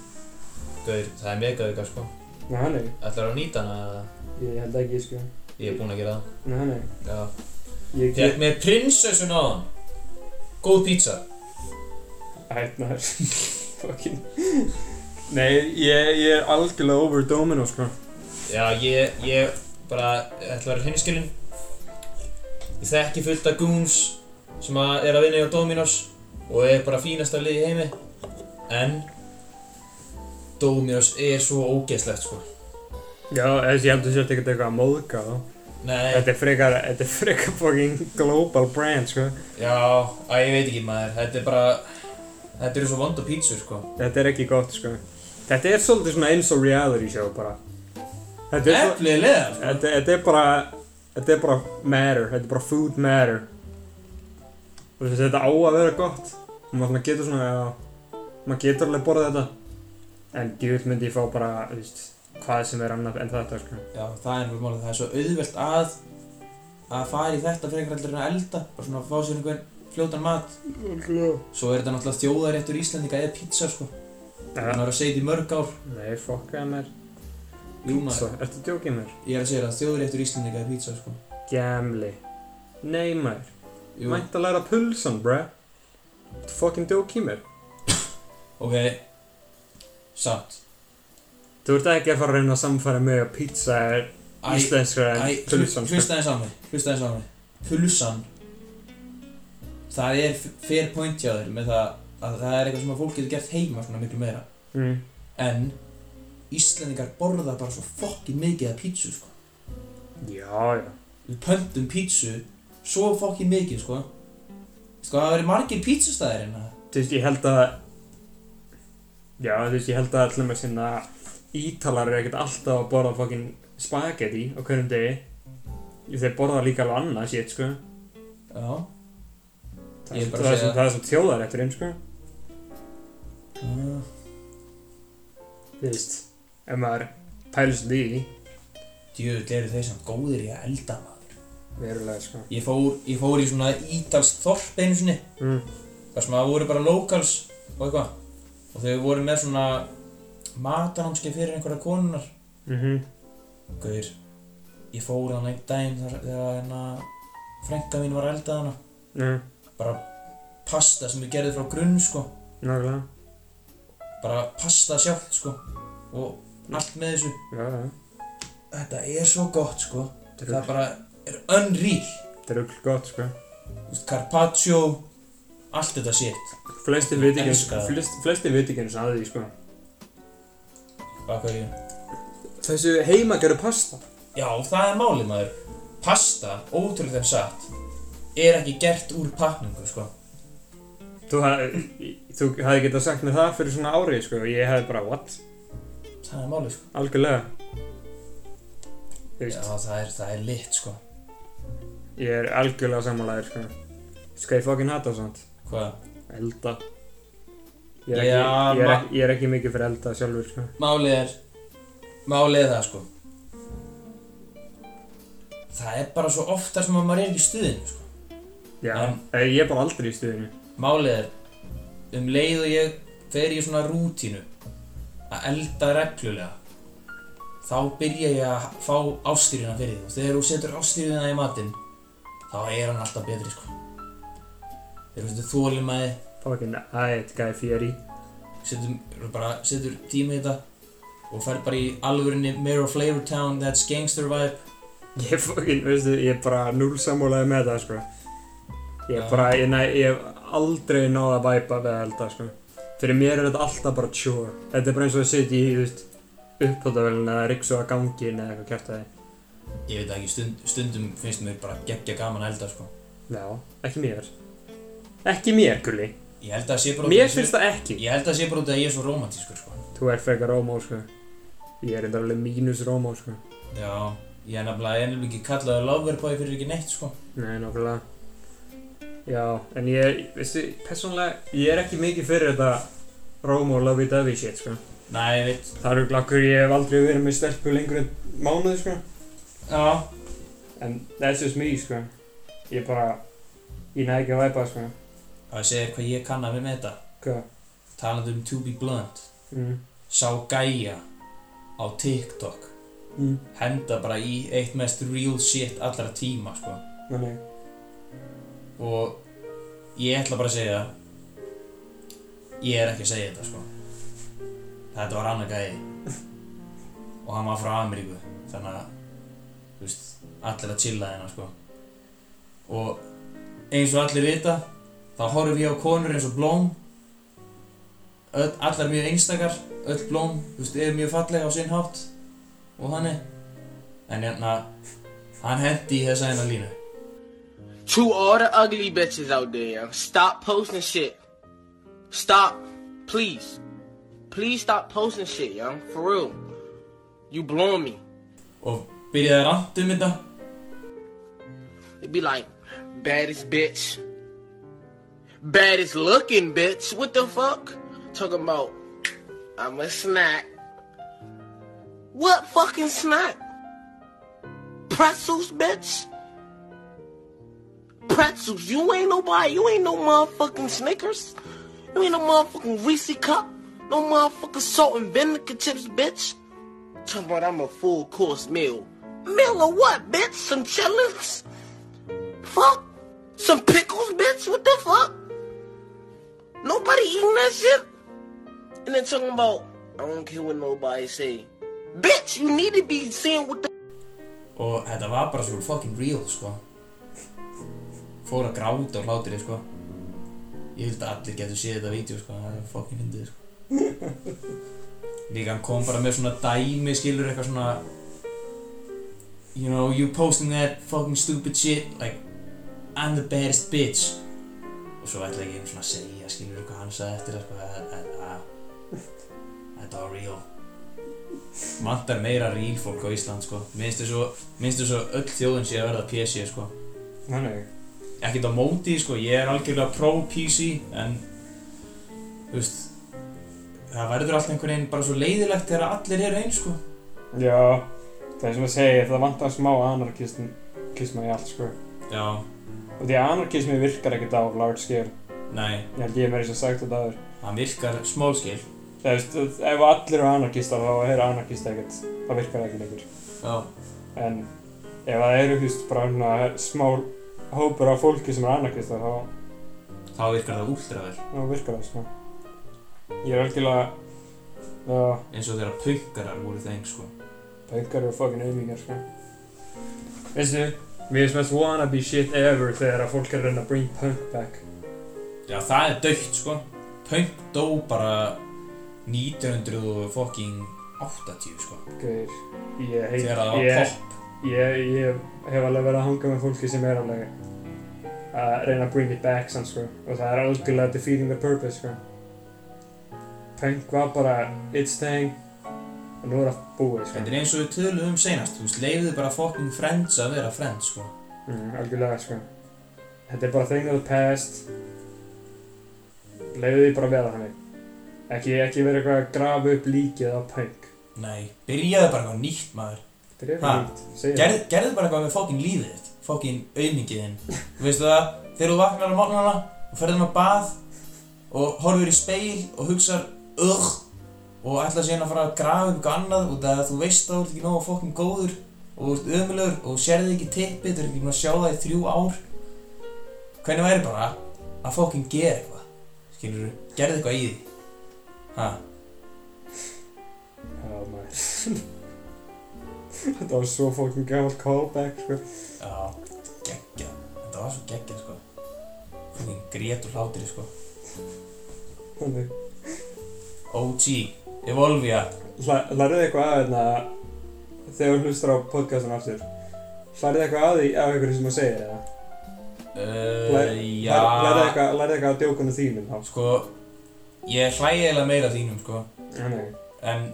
[SPEAKER 1] gaur, það er mega auka sko
[SPEAKER 2] na hann er
[SPEAKER 1] ætlar að nýta hana eða?
[SPEAKER 2] ég held ekki sko
[SPEAKER 1] ég er búinn að gera
[SPEAKER 2] na hann er
[SPEAKER 1] það já,
[SPEAKER 2] ég
[SPEAKER 1] fekk
[SPEAKER 2] get
[SPEAKER 1] með prinsessun á hann góð pizza
[SPEAKER 2] ætnar fucking nei ég, ég er algjörlega over domino sko
[SPEAKER 1] Já, ég, ég bara ætla að vera hinskilinn Ég þekki fullt af goons sem að er að vinna hjá Dominos og er bara fínasta lið í heimi en Dominos er svo ógeðslegt sko
[SPEAKER 2] Já, þessi ég heldur sér ekkert eitthvað að móðga þá.
[SPEAKER 1] Nei,
[SPEAKER 2] Þetta er frekar, þetta er frekar fucking global brand, sko.
[SPEAKER 1] já, að ég veit ekki maður þetta er bara þetta eru svo vonda pítsur sko
[SPEAKER 2] Þetta er ekki gott, sko. Þetta er svolítið svona eins og reality show bara. Þetta er, svo,
[SPEAKER 1] Eflilega sko
[SPEAKER 2] þetta, þetta er bara, þetta er bara matter, þetta er bara food matter. Og þessi, þetta á að vera gott. Og maður svona getur svona, já, maður getur alveg borðað þetta. En djúvill myndi ég fá bara, þú veist, hvað sem er annað en þetta, sko.
[SPEAKER 1] Já, það er mjög málið, það er svo auðvelt að að fara í þetta fyrir einhverjaldur en að elda bara svona að fá sér einhvern fljótan mat Svo er þetta náttúrulega þjóðaréttur Íslandinga eða pizza sko Það
[SPEAKER 2] Ja.
[SPEAKER 1] er að segja þetta í mörg ár
[SPEAKER 2] Nei, fokkaði mér.
[SPEAKER 1] Jú
[SPEAKER 2] Svo,
[SPEAKER 1] maður,
[SPEAKER 2] ertu djókið mér?
[SPEAKER 1] ég er að segja það þjóðaréttur Íslandinga eða pizza sko
[SPEAKER 2] Gemli Nei maður,
[SPEAKER 1] Jú,
[SPEAKER 2] mænt að læra pulsan bruh Þetta fucking djók í mér
[SPEAKER 1] ok Samt
[SPEAKER 2] Þú ert ekki að fara að reyna að samfæra mig að pizza er
[SPEAKER 1] Æ,
[SPEAKER 2] íslenskra
[SPEAKER 1] æ,
[SPEAKER 2] en
[SPEAKER 1] hlusta
[SPEAKER 2] pulsan sko.
[SPEAKER 1] þess á mig Hlusta þess á mig Pulsan Það er f- fair point hjá þér með það að það er eitthvað sem að fólk getur gert heima svona miklu meira
[SPEAKER 2] Mm.
[SPEAKER 1] en Íslendingar borða bara svo fokkin mikið af pítsu sko.
[SPEAKER 2] Já, já.
[SPEAKER 1] við pöntum pítsu svo fokkin mikið sko. sko það verið margir hérna. pítsustæðir en það
[SPEAKER 2] Þú veist, ég held að... Já, þú veist, ég held að allir með sinna ítalar eru ekkert alltaf að borða fokkin spagetti á hverjum degi. Þeir borða líka alveg annað sétt, sko.
[SPEAKER 1] já,
[SPEAKER 2] Það
[SPEAKER 1] Ég er
[SPEAKER 2] er
[SPEAKER 1] bara að
[SPEAKER 2] það
[SPEAKER 1] segja
[SPEAKER 2] sem,
[SPEAKER 1] það.
[SPEAKER 2] það er sem þjóðarætturinn, sko.
[SPEAKER 1] já.
[SPEAKER 2] Þú veist, ef maður pælur svolítið í því,
[SPEAKER 1] djöfull eru þeir sem góðir í að elda maður
[SPEAKER 2] verulega, sko.
[SPEAKER 1] ég fór, ég fór í svona ítalst þorp einu sinni
[SPEAKER 2] Mm.
[SPEAKER 1] þar sem það voru bara locals og eitthvað og þau voru með svona matanámskeið fyrir einhverja konunar
[SPEAKER 2] Mm
[SPEAKER 1] Gauðir, ég fór þannig einn daginn þegar- þegar hérna frænka mín var að elda hana
[SPEAKER 2] Já,
[SPEAKER 1] bara pasta sem við gerðum frá grunn sko
[SPEAKER 2] nákvæmlega.
[SPEAKER 1] bara pasta sjálft sko og allt með þessu
[SPEAKER 2] Já, já.
[SPEAKER 1] þetta er svo gott sko
[SPEAKER 2] Þetta
[SPEAKER 1] það
[SPEAKER 2] er-
[SPEAKER 1] bara er unreal
[SPEAKER 2] þetta er öll gott, sko.
[SPEAKER 1] Þú veist, carpaccio allt þetta shit
[SPEAKER 2] Flesti veit ekki eins-
[SPEAKER 1] Elska það.
[SPEAKER 2] flest, flesti veit ekki eins að því, sko.
[SPEAKER 1] baka ég
[SPEAKER 2] Þessu heima gerur pasta.
[SPEAKER 1] já það er málið maður pasta ótrúlega þeim satt er ekki gert úr pakningu sko
[SPEAKER 2] Þú, hafði- þú hefði getað sagt mér það fyrir svona árið, sko, og ég hefði bara, what?
[SPEAKER 1] það er málið sko
[SPEAKER 2] Algjörlega.
[SPEAKER 1] já,
[SPEAKER 2] Þú veist,
[SPEAKER 1] það er, það er lit sko
[SPEAKER 2] ég er algjörlega sammálaðir, sko. Skal ég fokkin hata svona?
[SPEAKER 1] hvað
[SPEAKER 2] Elda. Ég er, ekki,
[SPEAKER 1] Já,
[SPEAKER 2] ég, er
[SPEAKER 1] ma-
[SPEAKER 2] ekki, ég er ekki mikið fyrir elda sjálfur, sko.
[SPEAKER 1] Málið er Málið er það sko Það er bara svo oftar sem að maður er ekki í stuðinu sko.
[SPEAKER 2] Já,
[SPEAKER 1] En-
[SPEAKER 2] eh, ég er bara aldrei í stuðinu.
[SPEAKER 1] Málið er Um leið og ég fer í svona rútínu Að elda reglulega Þá byrja ég að fá ástýrina fyrir því Og þegar þú setur ástýrina í matinn Þá er hann alltaf betri sko Þegar þú setur þólimaði
[SPEAKER 2] Fokkin ætt gæði fjeri.
[SPEAKER 1] setur, bara, setur tíma í þetta Og fer bara í alvörinni Mirror Flavor Town That's gangster vibe
[SPEAKER 2] Ég er fokkin, veistu, ég er bara núl sammálaði með það, sko. Ég er
[SPEAKER 1] Já.
[SPEAKER 2] bara, ég, næ, ég hef aldrei náð að væpa við að elda, sko. Fyrir mér er þetta alltaf bara chore. Þetta er bara eins og að sitja í, þú veist, uppháttavölinu eða riksu að gangin eða eitthvað kjart að þið.
[SPEAKER 1] Ég veit það ekki, stund, stundum finnst mér bara geggja gaman að elda sko
[SPEAKER 2] Já, ekki mér. Ekki mér, gulli.
[SPEAKER 1] Ég held að það sé bara
[SPEAKER 2] Mér finnst það ekki.
[SPEAKER 1] Ég held að það sé bara út af að ég er svo romantískur sko
[SPEAKER 2] Þú ert frekar rómó, sko. Ég er enda alveg mínus rómó, sko.
[SPEAKER 1] Já, ég er nefnilega, ég er nefnilega ekki kallaður loverboy fyrir ekki neitt sko
[SPEAKER 2] Nei, nokkulega. Já, en ég, veistu, persónulega, ég er ekki mikið fyrir þetta Rómo lovey-dovey shit, sko.
[SPEAKER 1] Nei, ég veit
[SPEAKER 2] Það eru glakkur, ég hef aldrei verið með stelpu lengur en mánuði, sko.
[SPEAKER 1] Já,
[SPEAKER 2] En that's just me, sko. Ég bara, ég næði ekki að væpa, sko.
[SPEAKER 1] að ég segja þér hvað ég kann að við með þetta
[SPEAKER 2] Hvað?
[SPEAKER 1] Talandi um To Be Blunt
[SPEAKER 2] Mm.
[SPEAKER 1] Sá gæja á TikTok
[SPEAKER 2] Mm.
[SPEAKER 1] Henda bara í eitt mest real shit allra tíma sko
[SPEAKER 2] Nei,
[SPEAKER 1] Og ég ætla bara að segja Ég er ekki að segja þetta sko Þetta var annar gæði Og hann var frá Ameríku Þannig að Þú veist Allir að chilla hérna sko Og Eins og allir vita Þá horfum ég á konur eins og Blóm öll, Allar mjög einstakar Öll Blóm Þú veist Er mjög falleg á sinn hátt Og þannig En hérna Hann hendi í þessa hérna línu
[SPEAKER 4] To all the ugly bitches out there, stop posting shit. Stop. Please. Please stop posting shit, yo. For real. You blowing me.
[SPEAKER 1] Og byrjaði að ranta um þetta
[SPEAKER 4] It be like, baddest bitch. Baddest looking bitch. What the fuck? Talking about, I'm a snack. What fucking snack? Pretzels, bitch? Pretzels. You ain't nobody. You ain't no motherfucking Snickers. You ain't no motherfucking Reese cup. No motherfucking salt and vinegar chips, bitch. Talking about I'm a full course meal. Meal of what, bitch? Some chillings? Fuck. Some pickles, bitch? What the fuck? Nobody eating that shit? And then talking about, I don't care what nobody say. Bitch, you need to be seeing what the
[SPEAKER 1] og þetta var bara svo fucking real sko fór að gráta og hlátir sko Ég vildi að allir getur séð þetta vídeo sko, það er fokkin fyndið sko. Líka hann kom bara með svona dæmi, skilur eitthvað svona You know, you posting that fucking stupid shit, like I'm the baddest bitch Og svo ætla ekki einu svona að segja, skilur eitthvað hann sagði eftir það sko, að- að- að- Þetta var real Vantar meira real fólk á Ísland sko, minnstu svo, minnstu svo öll þjóðin sé að verða PC sko
[SPEAKER 2] Þannig,
[SPEAKER 1] ekkert á móti, sko, ég er algjörlega pro-PC, en þú veist það verður allt einhvern veginn bara svo leiðilegt þegar allir eru eins, sko
[SPEAKER 2] já, það er sem að segja, það vantar smá anarkisma í allt, sko.
[SPEAKER 1] Já,
[SPEAKER 2] Og því að anarkismi virkar ekkert á large scale.
[SPEAKER 1] nei,
[SPEAKER 2] Ég held ég meira þess að sagt þetta aður.
[SPEAKER 1] hann virkar smálskil
[SPEAKER 2] Það veist, ef allir eru anarkistar, þá er anarkist ekkert. Það virkar ekki lengur.
[SPEAKER 1] Já,
[SPEAKER 2] En ef það eru, þú veist, bara svona smá hópur af fólki sem er anarkistar, þá
[SPEAKER 1] þá virkar það úldraður
[SPEAKER 2] Já, virkar það, sko. Ég er algjörlega, já,
[SPEAKER 1] eins og þegar punkarar voru þeim, sko
[SPEAKER 2] paukar eru fucking auðvíkar, sko. Veistu, við erum mest wannabe shit ever þegar að fólk er að reyna að bring punk back.
[SPEAKER 1] Já, það er dögt, sko Punk dó bara 1980, sko
[SPEAKER 2] Gauðir, ég heit,
[SPEAKER 1] þegar það var
[SPEAKER 2] ég,
[SPEAKER 1] pop
[SPEAKER 2] ég, ég hef alveg verið að hanga með fólki sem er alveg að reyna að bring it back, sann, sko. Og það er algjörlega defeating the purpose, sko. Punk var bara its thing og nú er það búið, sko.
[SPEAKER 1] Þetta er eins og við töluðum seinast, þú veist, leiðið bara fucking friends að vera friends, sko
[SPEAKER 2] Mm, algjörlega, sko. Þetta er bara thing of the past. Leiðu því bara að vera þannig. Ekki, ekki vera eitthvað að grafa upp líkið á punk.
[SPEAKER 1] Nei, byrjaði bara eitthvað nýtt, maður
[SPEAKER 2] Þetta er
[SPEAKER 1] Ha,
[SPEAKER 2] eitthvað nýtt, segja
[SPEAKER 1] Gerð, gerðu bara eitthvað með fókin lífið þitt Fókin auðmingið þinn Veistu það, þegar þú vaknar á morgnana og ferðin á bað og horfir í speil og hugsar Ugh og ætla síðan að fara að grafa upp eitthvað annað út af að þú veist að þú ert ekki nógu fókin góður og þú ert ömulegur og þú sérði ekki tippið þú ert ekki búin að sjá það í þrjú ár Hvernig væri bara að fókin gera eitthvað Skilur þú, gerðu eitthvað í því Ha,
[SPEAKER 2] Já, maður. Þetta var svo fólkin gammal callback, sko.
[SPEAKER 1] já, geggja Þetta var svo geggjað sko Fókin grét og hlátir sko
[SPEAKER 2] Þannig,
[SPEAKER 1] OG, Evolvia
[SPEAKER 2] lærðu eitthvað að hérna, þegar þú hlustar á podcastan aftur. Lærðu eitthvað að því af einhverju sem að segja það.
[SPEAKER 1] uh,
[SPEAKER 2] Lær- Lærðu
[SPEAKER 1] Já
[SPEAKER 2] eitthvað, lærðu eitthvað að djókunum þínum, þá.
[SPEAKER 1] Sko Ég hlæ eiginlega meira að þínum sko
[SPEAKER 2] Nei, nei,
[SPEAKER 1] En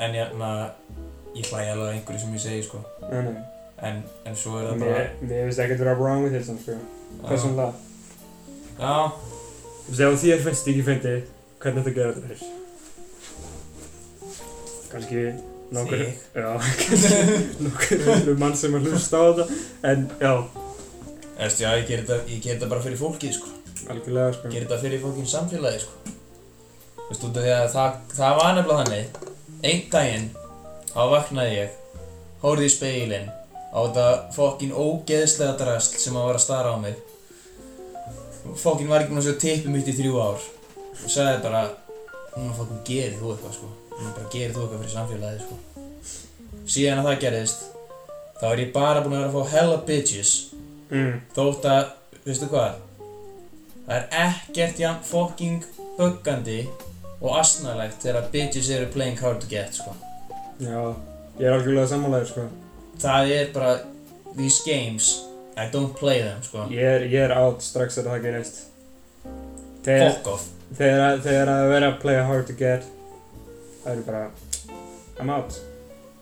[SPEAKER 1] En hérna Ég hlæ alveg að einhverju sem ég segi sko
[SPEAKER 2] nei, nei.
[SPEAKER 1] En, en svo er það bara
[SPEAKER 2] Mér mér finnst ekkert vera wrong with this, sko. Personlega.
[SPEAKER 1] Já
[SPEAKER 2] Þú veist, ef þér finnst ekki fyndið, hvernig þetta gera þetta þér? Kanski nokkur...
[SPEAKER 1] Þig.
[SPEAKER 2] Já, kannski nokkur hundru mann sem að hlusta á þetta, en já,
[SPEAKER 1] Erst, já, ég ger þetta, ég ger þetta bara fyrir fólkið sko
[SPEAKER 2] algjörlega,
[SPEAKER 1] Ég
[SPEAKER 2] sko.
[SPEAKER 1] ger þetta fyrir fólkið samfélagi sko Veistu út af því að það, það var nefnilega þannig Einn daginn Þá vaknaði ég Hóruði í speilin Á þetta fokkin ógeðslega drasl sem að var að stara á mig Fokkin var ekki búinn að sjá tippið mitt í þrjú ár Og sagði bara Núna fokkin gerir þú eitthvað sko Núna bara gerir þú eitthvað fyrir samfélagið sko Síðan að það gerðist Þá er ég bara búinn að vera að fá hella bitches
[SPEAKER 2] Mm,
[SPEAKER 1] Þótt að, veistu hvað Það er ekkert jafn fucking buggandi og asnalegt þegar bitches eru playing hard to get sko.
[SPEAKER 2] já, ég er algjörlega sammálaður, sko.
[SPEAKER 1] Það er bara These games, I don't play them sko.
[SPEAKER 2] Ég er, ég er out strax þegar það gerist. Þegar,
[SPEAKER 1] Fuck off
[SPEAKER 2] þegar, að- þegar að vera að playa hard to get, það eru bara, I'm out.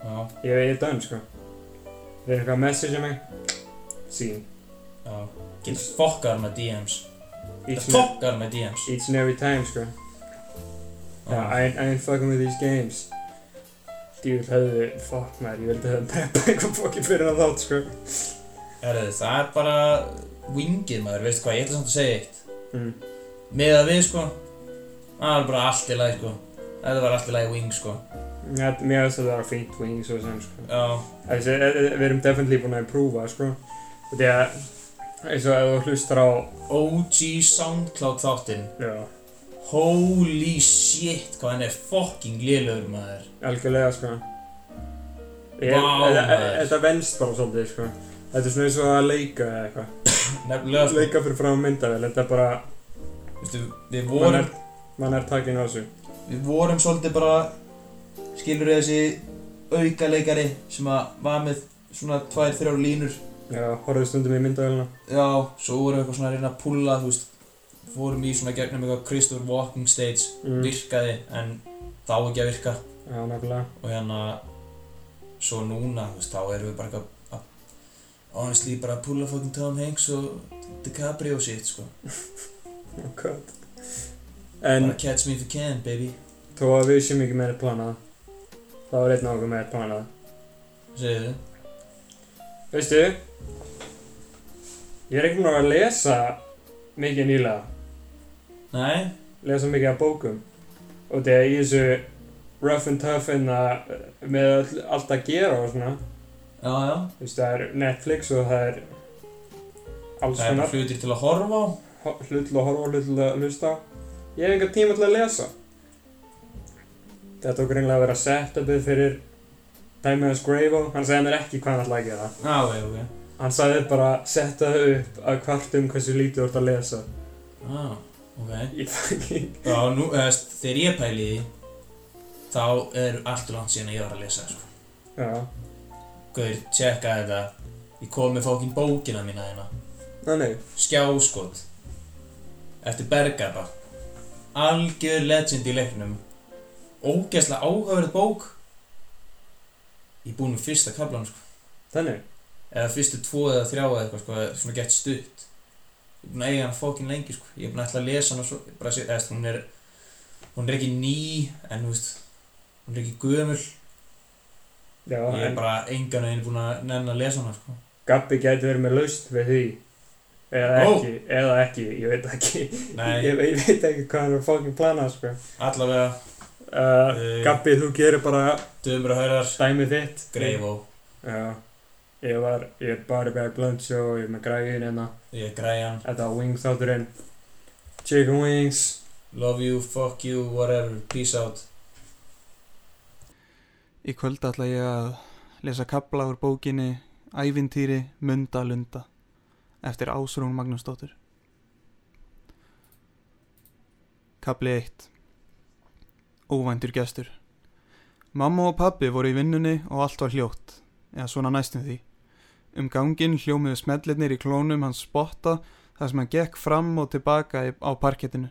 [SPEAKER 1] Já,
[SPEAKER 2] Ég, ég er done, sko. Þeir eru eitthvað að messagea mig, sín.
[SPEAKER 1] já Get fokkar með DMs
[SPEAKER 2] Each and-
[SPEAKER 1] Fokkar með DMs
[SPEAKER 2] each and every time, sko. Já, I, ain't- I ain't fucking with these games. Djúvill hefðu, fuck maður, ég vildi hefðu preppa eitthvað fokkin fyrir að þátt, sko.
[SPEAKER 1] Herðu, það er bara wingið maður, veistu hvað, ég ætla samt að segja eitt
[SPEAKER 2] Mm.
[SPEAKER 1] Með að við sko Það var bara allt í lagi sko Þetta var allt í lagi wing sko
[SPEAKER 2] Ja, mér finnst þetta að vera fínt wing, svo sem, sko.
[SPEAKER 1] Já,
[SPEAKER 2] Þessi, e- e- við erum definitely búin að prúfa, sko. Og því að, eins og ef þú hlustar á,
[SPEAKER 1] OG Soundcloud þáttinn
[SPEAKER 2] já,
[SPEAKER 1] Holy shit, hvað hann er fucking lélugur maður
[SPEAKER 2] algjörlega, sko.
[SPEAKER 1] Vá,
[SPEAKER 2] Ég- e- e- e-
[SPEAKER 1] maður.
[SPEAKER 2] Þetta venst bara svolítið, sko. Þetta er svona eins og að leika eða eitthvað.
[SPEAKER 1] Nefnilega, sko,
[SPEAKER 2] Leika fyrir fram myndavel, þetta er bara,
[SPEAKER 5] Vistu, við
[SPEAKER 2] Mann
[SPEAKER 5] vorum,
[SPEAKER 2] er, mann er takin á þessu.
[SPEAKER 1] Við vorum svolítið bara skilur þessi aukaleikari sem að var með svona tvær, þrjár línur
[SPEAKER 2] Já, horfðu stundum í myndavélina.
[SPEAKER 1] Já, svo vorum við eitthvað svona að reyna að pulla, þú veist fórum í svona gegnum eitthvað Christopher Walking Stage
[SPEAKER 2] Mm.
[SPEAKER 1] virkaði en þá ekki að virka
[SPEAKER 2] Já, nokkulega.
[SPEAKER 1] og hérna svo núna, þú veist, þá erum við bara eitthvað að honestly bara að pulla fucking Tom Hanks og DiCaprio shit, sko
[SPEAKER 2] Oh god. En
[SPEAKER 1] bara catch me if you can, baby
[SPEAKER 2] þó að við séum ekki meira planað, þá er einn af okkur meira planað.
[SPEAKER 1] segir þau
[SPEAKER 2] Veistu, ég er ekki búinn að lesa mikið nýlega.
[SPEAKER 1] Nei,
[SPEAKER 2] lesa mikið af bókum og því að í þessu rough and tough en að með all, allt að gera og svona
[SPEAKER 1] já, já
[SPEAKER 2] þú veist það er Netflix og það er alls
[SPEAKER 1] Það er bara
[SPEAKER 2] konar
[SPEAKER 1] hlutir til að horfa á
[SPEAKER 2] ho- hlut til að horfa og hlut til að hlusta á. ég hef engan tíma til að lesa þetta okkur einlega að vera setupið fyrir Time as Gravo hann sagði mér ekki hvað hann ætlaði að gera
[SPEAKER 1] Já, já, Ah, ok
[SPEAKER 2] hann sagði bara setta það upp að kvartum hversu lítið þú ert að lesa
[SPEAKER 1] Já, Ah, ok
[SPEAKER 2] ég fucking
[SPEAKER 1] Já, nú, eðast, þegar ég pæli í því þá er allt og langt síðan að ég var að lesa sko.
[SPEAKER 2] já
[SPEAKER 1] Guður, tjekka þetta Ég kom með fókin bókina mína hérna. þeirna
[SPEAKER 2] þannig
[SPEAKER 1] Skjáskot Eftir Bergaba Algjör legend í leiknum Ógæslega áhugaverð bók Ég er búinn með fyrsta kaplan sko.
[SPEAKER 2] þannig
[SPEAKER 1] Eða fyrstu tvo eða þrjá eða eitthvað sko, Svona gett stutt Ég er búinn að eiga hana fókin lengi sko. Ég er búinn að ætla að lesa hana svo, bara, sé- eðast, hún, er, hún er ekki ný En þú veist Hún er ekki gömul
[SPEAKER 2] já,
[SPEAKER 1] Ég
[SPEAKER 2] en-
[SPEAKER 1] er bara engan veginn búinn að nenn að lesa hana sko.
[SPEAKER 2] Gabbi gæti verið með laust við því eða
[SPEAKER 1] Ó.
[SPEAKER 2] ekki, eða ekki, ég veit ekki
[SPEAKER 1] Nei,
[SPEAKER 2] ég, ég veit ekki hvað hann er fókin planað sko.
[SPEAKER 1] allavega
[SPEAKER 2] uh,
[SPEAKER 1] Eh.
[SPEAKER 2] Gabbi, þú gerir bara
[SPEAKER 1] Dömur og haurar
[SPEAKER 2] dæmið þitt
[SPEAKER 1] Greifó
[SPEAKER 2] Já, ég var, ég er bara bæði blönd og ég er með græðin hérna
[SPEAKER 1] Ég er græjan
[SPEAKER 2] þetta var wings þátturinn chicken wings
[SPEAKER 1] Love you, fuck you, whatever, peace out
[SPEAKER 6] Í kvöld ætla ég að lesa kapla úr bókinni Ævintýri Munda Lunda eftir Ásrún Magnúsdóttur. Kapli 1 Óvæntur gestur Mamma og pabbi voru í vinnunni og allt var hljótt, eða svona næstum því. Um ganginn hljómiðu smellirnir í klónum hans spotta þar sem hann gekk fram og tilbaka í- á parkettinu.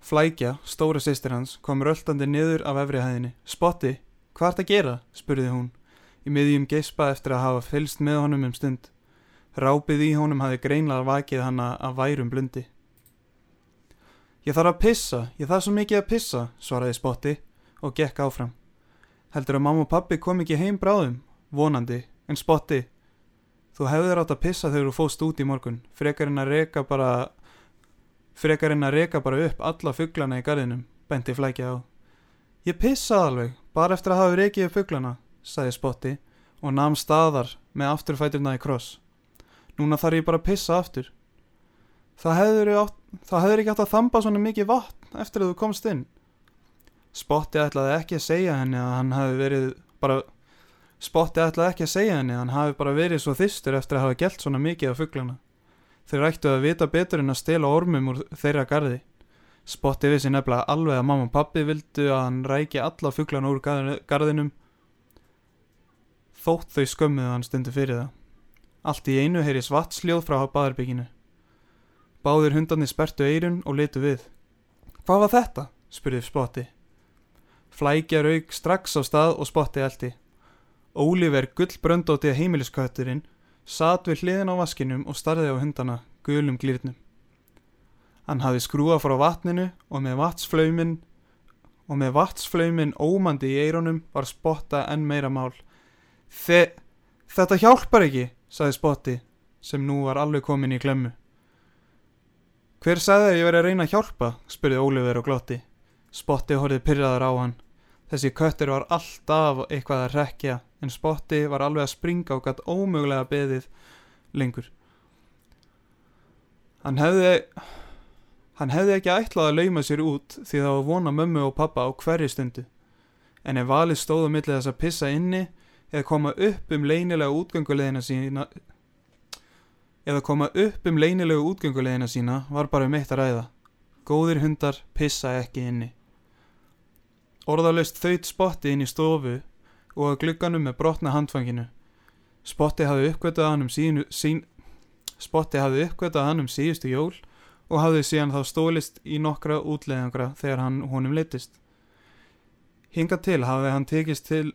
[SPEAKER 6] Flækja, stóra sýstir hans, kom röltandi niður af efri hæðinni. Spotti, Hvað ert að gera? spurði hún, í miðjum geispa eftir að hafa fylst með honum um stund. Rápið í honum hafi greinlega vakið hana að værum blundi. Ég þarf að pissa, ég þarf svo mikið að pissa, svaraði Spotti og gekk áfram. Heldur að mamma og pabbi kom ekki heim bráðum? Vonandi, en Spotti, þú hefðir átt að pissa þegar þú fóst út í morgun, frekar en að reka bara, frekar en að reka bara upp alla fuglana í garðinum, benti flækja á. Ég pissaði alveg, bara eftir að hafa reykið upp fuglana, sagði Spotti og nam staðar með afturfæturna í kross. Núna þarf ég bara að pissa aftur. Það hefur, átt, það hefur ekki átt að þamba svona mikið vatn eftir að þú komst inn. Spotti ætlaði ekki að segja henni að hann hafi verið bara... Spotti ætlaði ekki að segja henni að hann hafi bara verið svo þystur eftir að hafa gelt svona mikið af fuglana. Þeir ættu að vita betur en að stela ormum úr þeirra garði. Spotti vissi nefnilega alveg að mamma og pappi vildu að hann ræki alla fuglana úr garð- garðinum þótt þau skömmuðu hann stundu fyrir það. Allt í einu heyri svartsljóð frá baðarbygginu. Báðir hundarnir sperrtu eirun og litu við. Hvað var þetta? spurði Spotti. Flækja rauk strax á stað og Spotti eldi. Óliver gullbröndóti heimiliskatturinn sat við hliðin á vaskinum og starði á hundana gulum glýrnum. Hann hafði skrúað frá vatninu og með vatsflaumin og með vatsflaumin ómandi í eironum var spotta enn meira mál. Þe, þetta hjálpar ekki, sagði spotti sem nú var alveg komin í klemmu. Hver sagði að ég verið að reyna að hjálpa, spurði Ólífer og glotti. Spotti horfið pyrraður á hann. Þessi köttur var alltaf eitthvað að rekja en spotti var alveg að springa og gatt ómögulega beðið lengur. Hann hefði Hann hefði ekki ætlað að lauma sér út því það var vona mömmu og pappa á hverju stundu. En ef valið stóð á milli þess að pissa inni eða koma upp um leynilega útgönguleðina sína eða koma upp um leynilega útgönguleðina sína var bara um eitt að ræða. Góðir hundar pissa ekki inni. Orðalaust þaut spotti inn í stofu og að glugganum með brotna handfanginu. Spotti hafði uppgötað hann um sínu, sín, Spotti hafði uppgötað hann um síðustu jól og hafði síðan þá stólist í nokkra útleðangra þegar hann honum leittist. Hingað til hafði hann tekist til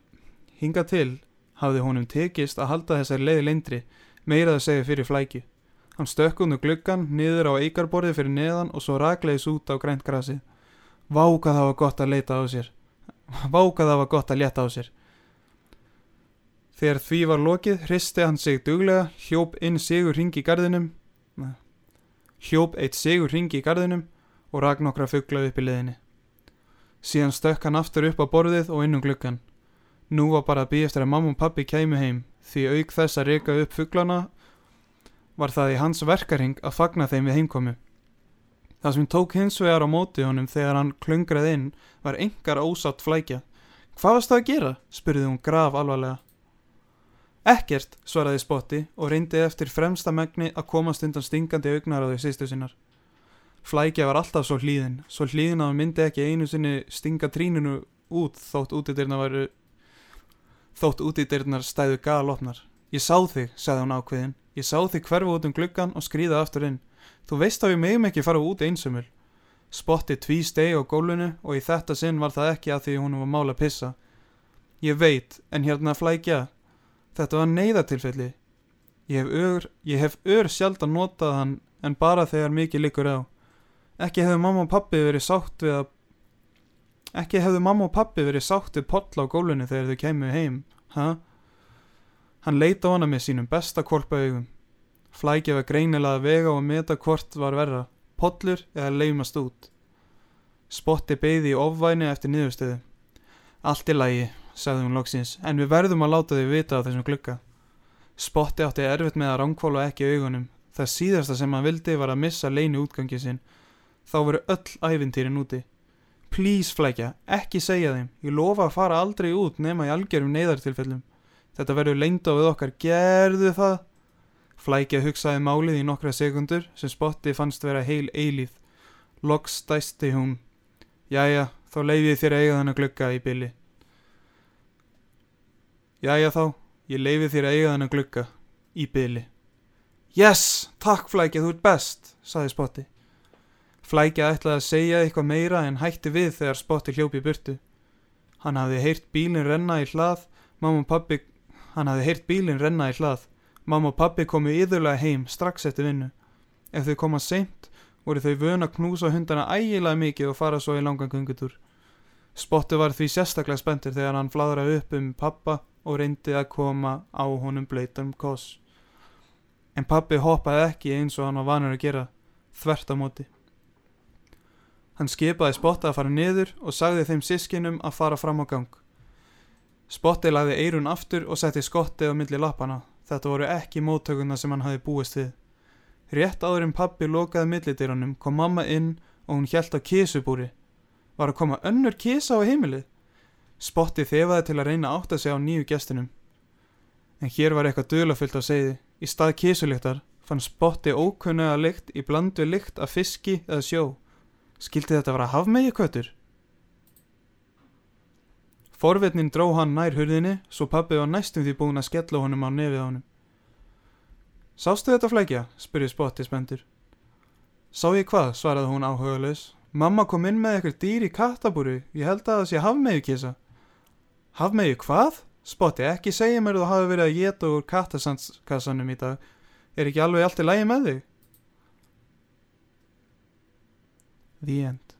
[SPEAKER 6] hingað til hafði honum tekist að halda þessar leið lindri meirað að segja fyrir flæki. Hann stökk undir gluggan, niður á eikarborði fyrir neðan og svo rakleis út á grænt grasið. Váka það var gott að leita á sér. Váka það var gott að létta á sér. Þegar því var lokið, hristi hann sig duglega, hljóp inn sigur ringi í gardinum, Nei. hljóp eitt sigur ringi í gardinum og rak nokkra fugla upp í leðinni. Síðan stökk hann aftur upp á borðið og inn um gluggan. Nú var bara að býja eftir að mamma og pappi kæmu heim, því auk þess að reka upp fuglana var það í hans verkaring að fagna þeim við heimkomi. Það sem tók hins vegar á móti honum þegar hann klungraði inn var engar ósatt flækja. Hvað varst það að gera? spurði hún graf alvarlega. Ekkert, svaraði Spotti og reyndi eftir fremsta megni að komast undan stingandi augnaráði sýstu sinnar. Flækja var alltaf svo hlýðin, svo hlýðin að hann myndi ekki einu sinni stinga tríninu út þótt útidyrnar væru... Þótt útidyrnar stæðu galopnar. Ég sá þig, sagði hún ákveðin. Ég sá þig hverfa út um gluggan og skrýða aftur inn. Þú veist að við megum ekki fara út einsumul. Spotti tví stegi á gólunu og í þetta sinn var það ekki að því hún var mála að pissa. Ég veit, en hérna flækja, Þetta var neyðatilfelli. Ég hef ör, ég hef ör sjaldan notað hann en bara þegar mikið liggur á. Ekki hefðu mamma og pappi verið sátt við að... Ekki hefðu mamma og pappi verið sátt við poll á gólunni þegar þau kemur heim, ha? Hann leita á hana með sínum besta korpaugum. Flækið var greinilega að vega og að meta hvort var verra, pollur eða leimast út. Spotti beigði í ofvæni eftir niðurstöðu. Allt í lagi, sagði hún loksins, en við verðum að láta þau vita af þessum glugga. Spotti átti erfitt með að ránkvóla ekki augunum. Það síðasta sem hann vildi var að missa leini útgangi sinn. Þá voru öll ævintýrin úti. Please, flækja, ekki segja þeim. Ég lofa að fara aldrei út nema í algjörum neyðartilfellum. Þetta verður leynd á við okkar. Gerðu það? Flækja hugsaði málið í nokkra sekundur sem Spotti fannst vera heil eilíð. Loks stæsti hún. Jæja, þá leiði þér að eiga þannig glugga í bylli. Jæja þá, ég leifi þér að eiga þennan glugga í byli. Yes, takk Flækja, þú ert best, saði Spotti. Flækja ætlaði að segja eitthvað meira en hætti við þegar Spotti hljópi í burtu. Hann hafði heyrt bílinn renna í hlað, mamma og pappi, hann hafði heyrt bílinn renna í hlað. Mamma og pappi komu yðurlega heim strax eftir vinnu. Ef þau koma seint, voru þau vöna að knúsa hundana ægilega mikið og fara svo í langan gungutúr. Spotti var því sérstaklega spenntur þegar hann fladraði upp um pappa og reyndi að koma á honum blöytum kos. En pappi hoppaði ekki eins og hann var vanur að gera, þvert á móti. Hann skipaði Spotta að fara niður og sagði þeim sískinum að fara fram á gang. Spotti lagði eirun aftur og setti skottið á milli lappana. Þetta voru ekki móttökuna sem hann hafi búist við. Rétt áður en pappi lokaði millidýranum kom mamma inn og hún hjælt á kísubúri. Var að koma önnur kísa á heimilið? Spotti þefaði til að reyna að átta sig á nýju gestinum. En hér var eitthvað dulafullt á segði. Í stað kísulíktar fann Spotti ókunnega lykt í blandu lykt af fiski eða sjó. Skildi þetta vera hafmegi köttur? Forvitnin dró hann nær hurðinni svo pappi var næstum því búin að skella honum á nefið á honum. Sástu þetta flækja? spurði Spotti spendur. Sá ég hvað? svaraði hún áhugalaus. Mamma kom inn með eitthvað dýr í kattabúru. Ég held að það sé hafmegi kísa. Hafmeyju hvað? Spotti, ekki segja mér að þú hafi verið að geta úr kattasandskassanum í dag. Er ekki alveg allt í lægi með þig? The end.